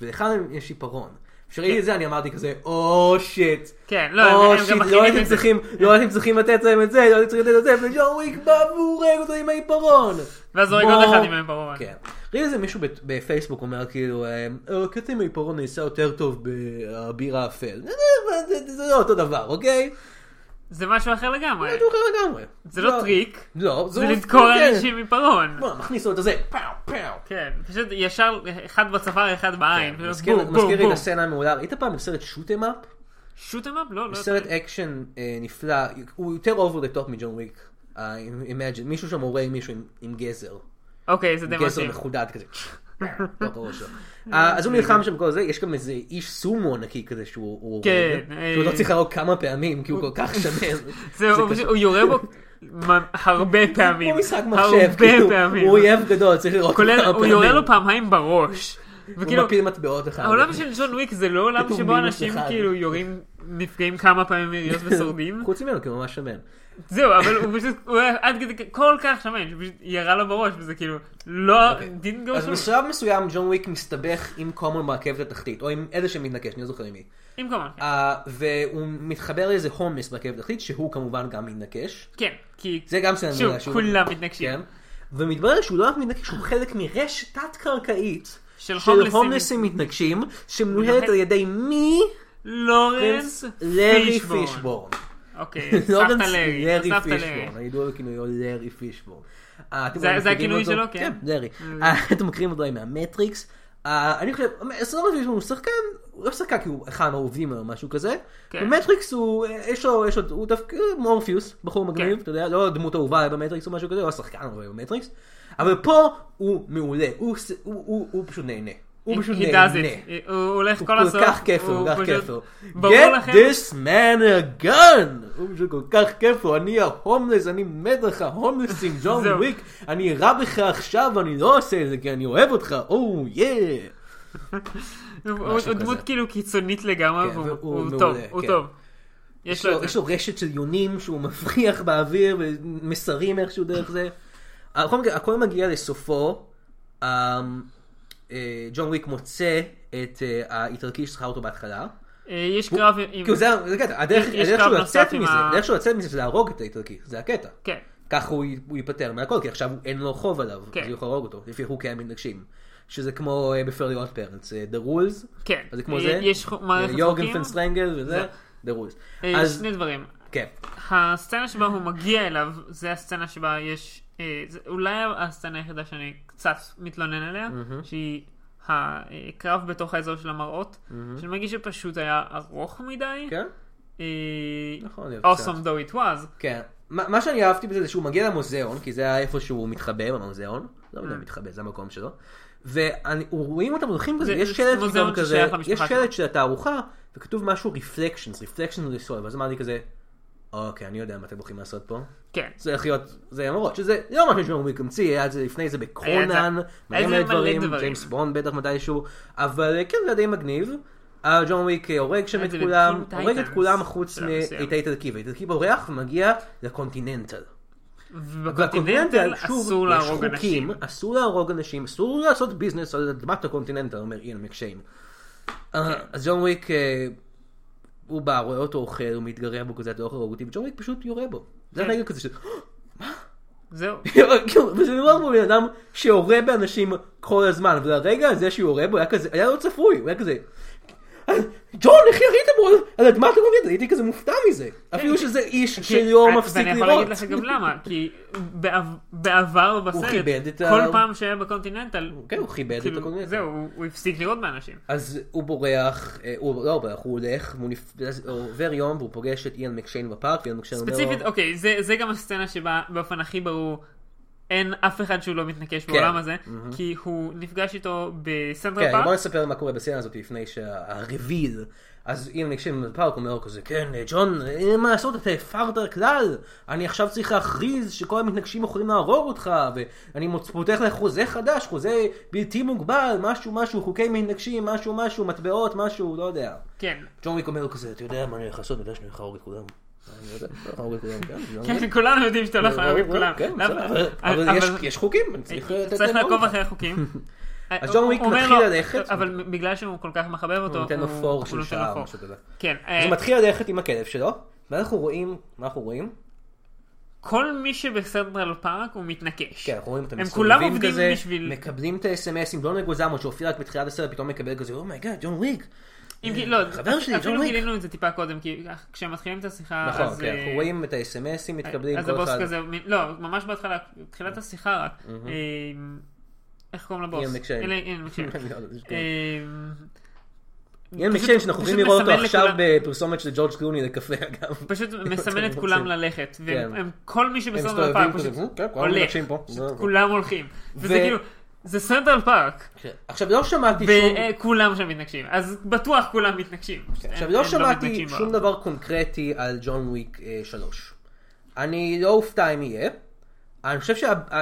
Speaker 1: ולאחד מהם יש עיפרון. כשראיתי את זה אני אמרתי כזה, "Oh, או שיט.
Speaker 2: כן, לא, הם-
Speaker 1: או
Speaker 2: הם גם
Speaker 1: שיט, לא
Speaker 2: מכינים
Speaker 1: הייתם
Speaker 2: את זה. כן.
Speaker 1: צריכים, לא הייתם צריכים לתת להם את זה, לא הייתם צריכים לתת את זה, וג'ון וויק בא והוא הורג אותו עם העיפרון.
Speaker 2: ואז הורג
Speaker 1: בוא-
Speaker 2: עוד אחד מהם ברור.
Speaker 1: כן. ראיתי איזה מישהו בט- בפייסבוק אומר כאילו, אה, הקטע עם העיפרון נעשה יותר טוב בבירה האפל. זה- זה- זה- זה לא אותו דבר, אוקיי?
Speaker 2: זה משהו אחר לגמרי.
Speaker 1: זה אחר לגמרי.
Speaker 2: כן. זה לא טריק,
Speaker 1: לא,
Speaker 2: זה
Speaker 1: הוא-
Speaker 2: לדקור
Speaker 1: כן.
Speaker 2: אנשים עיפרון.
Speaker 1: בוא, מכניס לו את הזה, פאו, פאו.
Speaker 2: כן, פשוט ישר אחד בצוואר, אחד בעין. פשוט
Speaker 1: כן, מזכיר
Speaker 2: בום,
Speaker 1: מזכיר
Speaker 2: בום,
Speaker 1: לי את
Speaker 2: בום.
Speaker 1: הסצנה המעולה, ראית פעם את סרט שוטם אפ?
Speaker 2: שוט אמפ? לא, לא.
Speaker 1: סרט אקשן אה, נפלא, הוא יותר אובר דה טופ מג'ון וויק, אה, Imagine, מישהו שם הורג מישהו עם- עם גזר,
Speaker 2: אוקיי, זה די
Speaker 1: גזר
Speaker 2: מתאים.
Speaker 1: מחודד כזה, בתוך הראש שלו. אה, אז הוא נלחם שם כל זה, יש גם איזה איש סומו ענקי כזה שהוא הוא הורג,
Speaker 2: כן,
Speaker 1: שהוא
Speaker 2: אה.
Speaker 1: לא צריך להרוג כמה פעמים כי הוא כל כך שמן,
Speaker 2: זה- הוא-
Speaker 1: קשה.
Speaker 2: הוא יורה בו מ- הרבה פעמים.
Speaker 1: הוא משחק מחשב, כאילו,
Speaker 2: הרבה פעמים.
Speaker 1: הוא אויב גדול, צריך לראות
Speaker 2: כולל,
Speaker 1: כמה
Speaker 2: הוא יורה
Speaker 1: פעמים.
Speaker 2: לו פעמיים בראש.
Speaker 1: הוא
Speaker 2: וכאילו,
Speaker 1: מפיל מטבעות אחד.
Speaker 2: העולם של ג'ון וויק זה לא עולם
Speaker 1: כתוב
Speaker 2: שבו
Speaker 1: מינוס
Speaker 2: אנשים
Speaker 1: אחד.
Speaker 2: כאילו יורים, נפגעים כמה פעמים מיריות ושורדים.
Speaker 1: חוץ ממנו כי הוא ממש שמן.
Speaker 2: זהו, אבל הוא פשוט, הוא היה עד כדי כך- כל כך שמן, שפשוט ירה לו בראש, וזה כאילו, לא, didn't go
Speaker 1: אוקיי. אז
Speaker 2: through.
Speaker 1: בשלב מסוים ג'ון וויק מסתבך עם קומון ברכבת התחתית, או עם איזה שמתנגש, אני לא זוכר עם מי.
Speaker 2: עם כמובן.
Speaker 1: אה, והוא מתחבר לאיזה הומלס ברכבת התחתית, שהוא כמובן גם מתנקש.
Speaker 2: כן, כי
Speaker 1: זה גם סצנה
Speaker 2: שוב,
Speaker 1: מעולה, שהוא-
Speaker 2: כולם מתנגשים.
Speaker 1: כן. ומתברר שהוא לא רק מתנקש, הוא חלק מרשת תת-קרקעית
Speaker 2: של
Speaker 1: של
Speaker 2: הומלסים-
Speaker 1: הומלסים מתנגשים, שמנוהלת
Speaker 2: מנוהלת-
Speaker 1: על ידי מי?
Speaker 2: לורנס
Speaker 1: לארי
Speaker 2: כן. פישבורן.
Speaker 1: פישבורן.
Speaker 2: אוקיי,
Speaker 1: לורנס
Speaker 2: סבתא לארי.
Speaker 1: לא לארי
Speaker 2: סבתא לארי.
Speaker 1: פישבורן, הידוע בכינויו לארי פישבורן. אה, אתם
Speaker 2: זה-
Speaker 1: אולי
Speaker 2: זה
Speaker 1: מכירים
Speaker 2: הכינוי
Speaker 1: אותו?
Speaker 2: שלו, כן.
Speaker 1: כן, לארי. אה, אתם מכירים אותו מהמטריקס. אה, אני חושב, סדרות פישבורן הוא שחקן, הוא לא שחקן כי הוא אחד מהאהובים או משהו כזה.
Speaker 2: כן.
Speaker 1: במטריקס הוא, אה, יש לו, יש לו, הוא דווקא אה, מורפיוס, בחור מגניב,
Speaker 2: כן.
Speaker 1: אתה יודע, לא דמות אהובה במטריקס או משהו כזה, הוא השחקן אהובה במטריקס. אבל פה הוא מעולה, הוא ס- הוא- הוא הוא פשוט נהנה. הוא פשוט
Speaker 2: He does
Speaker 1: נהנה.
Speaker 2: it. הוא הולך
Speaker 1: הוא
Speaker 2: כל הסוף.
Speaker 1: כל כך כיף לו,
Speaker 2: הוא
Speaker 1: כל כך
Speaker 2: פשוט-
Speaker 1: כיף לו.
Speaker 2: ברור
Speaker 1: Get
Speaker 2: לכם,
Speaker 1: this man a gun! הוא פשוט כל כך כיף לו, אני ההומלס, אני מת לך, הומלס עם ג'ון
Speaker 2: זהו.
Speaker 1: וויק, אני רע בך עכשיו, אני לא עושה את זה כי אני אוהב אותך, Oh, או יא!
Speaker 2: הוא- הוא
Speaker 1: משהו
Speaker 2: הוא דמות
Speaker 1: כזה.
Speaker 2: כאילו קיצונית לגמרי,
Speaker 1: כן,
Speaker 2: והוא
Speaker 1: והוא
Speaker 2: הוא
Speaker 1: מעולה,
Speaker 2: טוב, הוא
Speaker 1: כן.
Speaker 2: טוב. יש לו את
Speaker 1: יש
Speaker 2: זה.
Speaker 1: לו רשת של יונים שהוא מפריח באוויר ומסרים איכשהו דרך זה. אה, בכל מקרה, הכל מגיע לסופו. אה, אה, ג'ון וויק מוצא את אה, האיטלקי ששכר אותו בהתחלה.
Speaker 2: אה, יש קרב עם...
Speaker 1: כאילו זה זה הקטע, הדרך
Speaker 2: יש
Speaker 1: הדרך שהוא
Speaker 2: קרב
Speaker 1: לצאת
Speaker 2: נוסף עם
Speaker 1: מזה,
Speaker 2: ה-
Speaker 1: הדרך שהוא לצאת מזה זה להרוג את האיטלקי, זה הקטע.
Speaker 2: כן,
Speaker 1: ככה הוא י- הוא ייפטר מהכל, כי עכשיו אין לו חוב עליו,
Speaker 2: כן.
Speaker 1: אז הוא יכול להרוג אותו, לפי חוקי המתנגשים. שזה כמו אה, בפרלי עוד פרנס, The Rules,
Speaker 2: כן.
Speaker 1: אז זה כמו
Speaker 2: אה,
Speaker 1: זה,
Speaker 2: יש חו- מערכת חוקים.
Speaker 1: יורגן פנסטרנגל וזה,
Speaker 2: זה.
Speaker 1: The Rules.
Speaker 2: אה,
Speaker 1: אז
Speaker 2: שני דברים.
Speaker 1: כן,
Speaker 2: הסצנה שבה הוא מגיע אליו, זה הסצנה שבה יש, אה, זה אולי הסצנה היחידה שאני קצת מתלונן עליה, שהיא הקרב בתוך האזור של המראות, שאני מרגיש שפשוט היה ארוך מדי.
Speaker 1: כן,
Speaker 2: אה,
Speaker 1: נכון, להיות
Speaker 2: awesome though it was.
Speaker 1: כן. מה מה שאני אהבתי בזה זה שהוא מגיע למוזיאון, כי זה היה איפה שהוא מתחבא במוזיאון. לא
Speaker 2: אה.
Speaker 1: יודע אם מתחבא, זה המקום שלו. ורואים אותם הולכים כזה,
Speaker 2: זה- זה
Speaker 1: יש שלט
Speaker 2: מוזיאון
Speaker 1: גם כזה,
Speaker 2: ששייך
Speaker 1: יש
Speaker 2: למשפחה
Speaker 1: שלט של התערוכה, וכתוב משהו רפלקשנס, רפלקשנס לסול, ואז אמרתי כזה, אוקיי, אני יודע מה אתם הולכים לעשות פה.
Speaker 2: כן.
Speaker 1: זה הולך להיות, זה המורות, שזה לא משהו שהוא המציא, היה את זה לפני זה
Speaker 2: היה את
Speaker 1: בקרונן,
Speaker 2: זה-
Speaker 1: מלא
Speaker 2: היה
Speaker 1: מלא
Speaker 2: זה מלא
Speaker 1: דברים,
Speaker 2: דברים.
Speaker 1: ג'יימס בונד בטח מתישהו, אבל אה, כן זה היה די מגניב. אה, ג'ון וויק אה, הורג שם
Speaker 2: היה
Speaker 1: את
Speaker 2: את זה
Speaker 1: כולם,
Speaker 2: בטין
Speaker 1: הורג את
Speaker 2: טייטנס
Speaker 1: כולם חוץ
Speaker 2: בשלב מסוים.
Speaker 1: מאת האיטלקי, והאיטלקי בורח ומגיע לקונטיננטל.
Speaker 2: ובקונטיננטל אסור להרוג
Speaker 1: יש חוקים,
Speaker 2: אנשים.
Speaker 1: אסור להרוג אנשים, אסור לעשות ביזנס על אדמת הקונטיננטל, אומר איין מקשיין. אה, אז ג'ון וויק, אה, הוא בא, רואה אותו אוכל, הוא מתגרה בו כזה, אתה לא יכול להרוג אותי, וג'ון וויק פשוט יורה בו. זה
Speaker 2: כן.
Speaker 1: הרגע כזה של...
Speaker 2: זהו.
Speaker 1: כאילו, וזה נראה כמו בן אדם שיורה באנשים כל הזמן, והרגע הזה שהוא יורה בו היה כזה, היה לא צפוי, הוא היה כזה... ג'ון, איך ירית בו על- על אדמת הגומיות? הייתי כזה מופתע מזה. אפילו שזה איש שלא
Speaker 2: כן. כי-
Speaker 1: מפסיק
Speaker 2: ואני יכול
Speaker 1: לראות.
Speaker 2: להגיד לך גם למה, כי בעב- בעבר בסרט,
Speaker 1: כיבד את ה-
Speaker 2: כל פעם שהיה בקונטיננטל,
Speaker 1: כן, הוא כיבד את
Speaker 2: כאילו,
Speaker 1: הקומיות.
Speaker 2: זהו, הוא- הוא הפסיק לראות באנשים.
Speaker 1: אז הוא בורח, אה, הוא לא בורח, הוא הולך, והוא נפ- ואז הוא עובר יום והוא פוגש את איאן מקשיין בפארק, ואיאן מקשיין אומר לו...
Speaker 2: ספציפית, אוקיי, זה- זה גם הסצנה שבה באופן הכי ברור אין אף אחד שהוא לא מתנקש בעולם הזה, כי הוא נפגש איתו בסנטרל
Speaker 1: כן. כן, בוא
Speaker 2: פארק.
Speaker 1: נספר מה קורה בסצנה הזאת לפני שהריביל. אז אם נקשיב בפארק אומר לו כזה, כן, אה, ג'ון, אין מה לעשות, אתה הפרת כלל. אני עכשיו צריך להכריז שכל המתנגשים יכולים להרוג אותך, ואני מוצ- פותח לך חוזה חדש, חוזה בלתי מוגבל, משהו משהו, חוקי מתנגשים, משהו משהו, מטבעות, משהו, לא יודע.
Speaker 2: כן,
Speaker 1: ג'ון ויק אומר לו כזה, אתה יודע מה אני הולך לעשות, אני יודע שאני הולך להרוג את כולם. אני יודע, אני הולך להרוג את כולם, כן, אני יודע.
Speaker 2: כן, כולנו יודעים שאתה לא חייב את כולם.
Speaker 1: כן,
Speaker 2: למה-
Speaker 1: בסדר, אבל יש- יש חוקים, אני צריך אה, לתת
Speaker 2: צריך
Speaker 1: להם
Speaker 2: לעקוב
Speaker 1: להרוג.
Speaker 2: אחרי החוקים.
Speaker 1: אז ג'ון וויק
Speaker 2: הוא אומר
Speaker 1: מתחיל
Speaker 2: לו-
Speaker 1: ללכת.
Speaker 2: אבל בגלל שהוא כל כך מחבב אותו,
Speaker 1: הוא נותן לו
Speaker 2: הוא-
Speaker 1: פור
Speaker 2: הוא
Speaker 1: של
Speaker 2: נותן
Speaker 1: שעה
Speaker 2: לו
Speaker 1: או
Speaker 2: פור.
Speaker 1: משהו כזה.
Speaker 2: כן,
Speaker 1: אז
Speaker 2: אה,
Speaker 1: הוא מתחיל ללכת עם הכלב שלו, ואנחנו רואים, מה אנחנו רואים?
Speaker 2: כל מי שבסנטרל פארק הוא מתנקש.
Speaker 1: כן, אנחנו רואים אותם
Speaker 2: הם כולם
Speaker 1: מסתובבים
Speaker 2: עובדים
Speaker 1: כזה,
Speaker 2: בשביל-
Speaker 1: מקבלים את האס.אם.אסים, דונלד גוזמו לא שהופיע רק בתחילת הסרט, פתאום מקבל כזה, "Oh אומייגאד, ג'ון וויק.
Speaker 2: אם כי- לא,
Speaker 1: חבר שלי, ג'ון
Speaker 2: אפילו
Speaker 1: וויק.
Speaker 2: גילינו את זה טיפה קודם, כי כשהם מתחילים את השיחה,
Speaker 1: נכון,
Speaker 2: אז...
Speaker 1: כן,
Speaker 2: אה,
Speaker 1: אנחנו רואים את האס.אם.אסים מתקבלים,
Speaker 2: אז
Speaker 1: כל
Speaker 2: הבוס
Speaker 1: אחד.
Speaker 2: כזה, מין- לא, ממש בהתחלה, תחילת השיחה רק. אה, איך קוראים לבוס?
Speaker 1: איאן מקשיין.
Speaker 2: אלה- איאן מקשיין.
Speaker 1: אני לא יודע,
Speaker 2: אה,
Speaker 1: כן. יאן מקשיין, שאנחנו
Speaker 2: פשוט
Speaker 1: יכולים לראות אותו
Speaker 2: מסמן
Speaker 1: עכשיו
Speaker 2: לכולם-
Speaker 1: בפרסומת של ג'ורג' קלוני לקפה, אגב.
Speaker 2: פשוט מסמן את
Speaker 1: רוצים.
Speaker 2: כולם ללכת, והם-
Speaker 1: כן.
Speaker 2: הם- כל מי שבסנטרל
Speaker 1: מסתובבים
Speaker 2: פארק
Speaker 1: כזה,
Speaker 2: פשוט
Speaker 1: כן, כולם
Speaker 2: הולך,
Speaker 1: מתנגשים פה.
Speaker 2: פשוט
Speaker 1: זה- זה.
Speaker 2: כולם הולכים, וזה
Speaker 1: ו-
Speaker 2: כאילו, זה סנטרל פארק,
Speaker 1: כן. עכשיו, לא שמעתי שום...
Speaker 2: וכולם שם מתנגשים, אז בטוח כולם מתנגשים. פשוט
Speaker 1: עכשיו,
Speaker 2: אין-
Speaker 1: לא
Speaker 2: אין
Speaker 1: שמעתי
Speaker 2: מתנגשים
Speaker 1: שום
Speaker 2: בעולם.
Speaker 1: דבר קונקרטי על ג'ון וויק 3. אני לא אופתע אם יהיה. אני חושב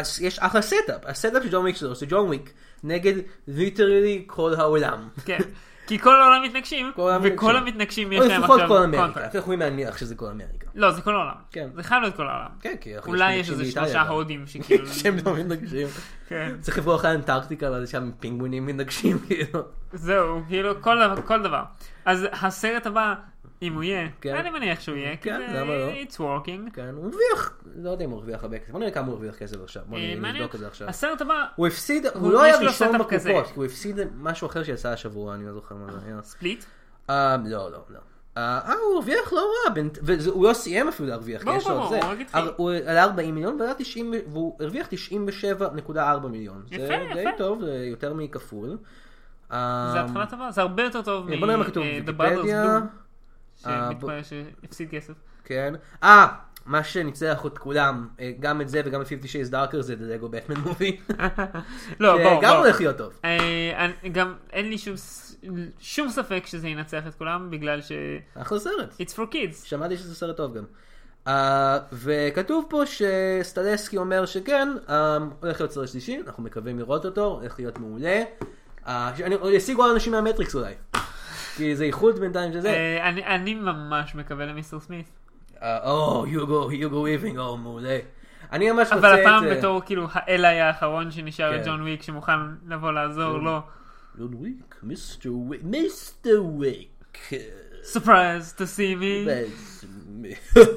Speaker 1: שיש אחלה סטאפ. הסטאפ של ג'ון וויק 3 זה ג'ון וויק נגד ליטרלי כל העולם.
Speaker 2: כן, כי כל העולם מתנגשים,
Speaker 1: כל העולם
Speaker 2: וכל
Speaker 1: מתנגשים.
Speaker 2: המתנגשים
Speaker 1: או
Speaker 2: יש להם
Speaker 1: לפחות
Speaker 2: עכשיו
Speaker 1: כל אמריקה.
Speaker 2: קונטרקט.
Speaker 1: אנחנו יכולים להניח שזה כל אמריקה.
Speaker 2: לא, זה כל העולם.
Speaker 1: כן.
Speaker 2: זה חייב להיות כל העולם.
Speaker 1: כן, כי אנחנו
Speaker 2: אולי יש
Speaker 1: מתנגשים
Speaker 2: איזה
Speaker 1: באיטליה
Speaker 2: שלושה
Speaker 1: גם.
Speaker 2: הודים שכאילו...
Speaker 1: שהם לא מתנגשים.
Speaker 2: כן.
Speaker 1: צריך לברוח לאנטארקטיקה ואז שם פינגווינים מתנגשים כאילו.
Speaker 2: זהו, כאילו, כל דבר- כל דבר. אז הסרט הבא, אם הוא יהיה,
Speaker 1: כן.
Speaker 2: אני מניח שהוא יהיה, כי
Speaker 1: כן,
Speaker 2: זה
Speaker 1: למה לא?
Speaker 2: it's working.
Speaker 1: כן, הוא הרוויח, לא יודע אם הוא הרוויח הרבה כסף. בוא נראה כמה הוא הרוויח כסף עכשיו. בוא
Speaker 2: אה, מעניין.
Speaker 1: נבדוק את זה עכשיו.
Speaker 2: הסרט הבא,
Speaker 1: הוא הפסיד, הוא
Speaker 2: הוא-
Speaker 1: לא היה
Speaker 2: יש לו
Speaker 1: ראשון
Speaker 2: סטאפ כזה.
Speaker 1: בקופות, כי הוא הפסיד משהו אחר שיצא השבוע, אני לא זוכר מה זה היה.
Speaker 2: ספליט.
Speaker 1: אה, לא, לא, לא. אה, אה, הוא הרוויח לא רע, בין- וזה- הוא לא סיים אפילו להרוויח, כי
Speaker 2: ברור,
Speaker 1: יש לו
Speaker 2: ברור,
Speaker 1: את זה.
Speaker 2: הוא רק התחיל.
Speaker 1: הר- הוא על 40 מיליון ועלה 90, והוא הרוויח 97.4 מיליון.
Speaker 2: יפה,
Speaker 1: זה די
Speaker 2: יפה.
Speaker 1: טוב, זה יותר מכפול. אה,
Speaker 2: זה אה, התחלה טובה, זה הרבה יותר טוב
Speaker 1: בוא נראה מה כתוב בוויקיפדיה. אה,
Speaker 2: שמתברר שהפסיד כסף.
Speaker 1: כן. אה, מה שניצח את כולם, אה, גם את זה וגם את 50 Shades Darker זה The Lego Batman Movie. כן,
Speaker 2: לא, בואו,
Speaker 1: גם
Speaker 2: בואו.
Speaker 1: הולך להיות טוב.
Speaker 2: אה, אני- גם אין לי שום ס- שום ספק שזה ינצח את כולם, בגלל ש...
Speaker 1: אחלה סרט.
Speaker 2: It's for kids.
Speaker 1: שמעתי שזה סרט טוב גם. Uh, וכתוב פה שסטלסקי אומר שכן, um, הולך להיות סרט שלישי, אנחנו מקווים לראות אותו, הולך להיות מעולה. Uh, שאני, עוד ישיגו עוד אנשים מהמטריקס אולי. כי זה איחוד בינתיים שזה.
Speaker 2: אה, אני- אני ממש מקווה למיסטר סמית.
Speaker 1: אה, או, יוגו, יוגו וויבינג, או, oh, מעולה. אני ממש רוצה את...
Speaker 2: אבל הפעם
Speaker 1: אה,
Speaker 2: בתור כאילו האלאי האחרון שנשאר
Speaker 1: כן.
Speaker 2: את ג'ון וויק שמוכן לבוא לעזור לו.
Speaker 1: ג'ון וויק, מיסטר וויק, מיסטר וויק.
Speaker 2: סופרייז, to see me.
Speaker 1: ואז-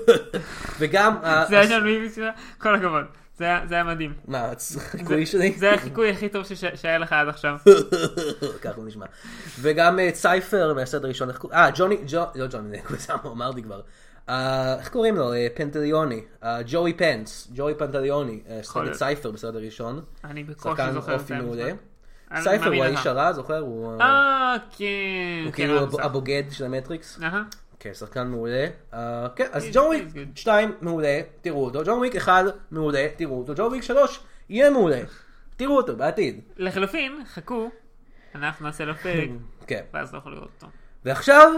Speaker 1: וגם... אה,
Speaker 2: זה היה ג'ון וויק, כל הכבוד. זה היה- זה היה מדהים.
Speaker 1: מה, הסיכוי
Speaker 2: זה-
Speaker 1: שלי?
Speaker 2: זה החיקוי הכי טוב שש- שהיה לך עד עכשיו.
Speaker 1: ככה הוא נשמע. וגם אה, צייפר מהסרט הראשון, איך קוראים? אה, ג'וני, ג'ו- לא ג'וני, קוזמו, אמרתי כבר. אה, איך קוראים לו? אה, פנטליוני. אה, ג'וי פנס. ג'וי פנטליוני. אה,
Speaker 2: יכול
Speaker 1: שחק את
Speaker 2: להיות.
Speaker 1: צייפר בסרט הראשון.
Speaker 2: אני בקושי
Speaker 1: שחקן
Speaker 2: זוכר את
Speaker 1: אופי
Speaker 2: זה.
Speaker 1: מעולה.
Speaker 2: אני
Speaker 1: צייפר
Speaker 2: מאמין
Speaker 1: הוא
Speaker 2: לך.
Speaker 1: האיש הרע, זוכר? הוא אה,
Speaker 2: אה, כן.
Speaker 1: הוא
Speaker 2: כן,
Speaker 1: כאילו
Speaker 2: אה,
Speaker 1: הב- הבוגד של המטריקס.
Speaker 2: אהה.
Speaker 1: כן, שחקן מעולה. אה, כן, אז
Speaker 2: He's-
Speaker 1: ג'ון וויק
Speaker 2: he's good.
Speaker 1: 2 מעולה, תראו אותו. ג'ון וויק 1 מעולה, תראו אותו. ג'ון וויק 3 יהיה מעולה. תראו אותו בעתיד.
Speaker 2: לחלופין, חכו, אנחנו נעשה לו פרק,
Speaker 1: כן.
Speaker 2: ואז לא יכול לראות אותו.
Speaker 1: ועכשיו,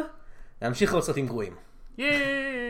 Speaker 1: להמשיך לראות סרטים גרועים.
Speaker 2: ייי!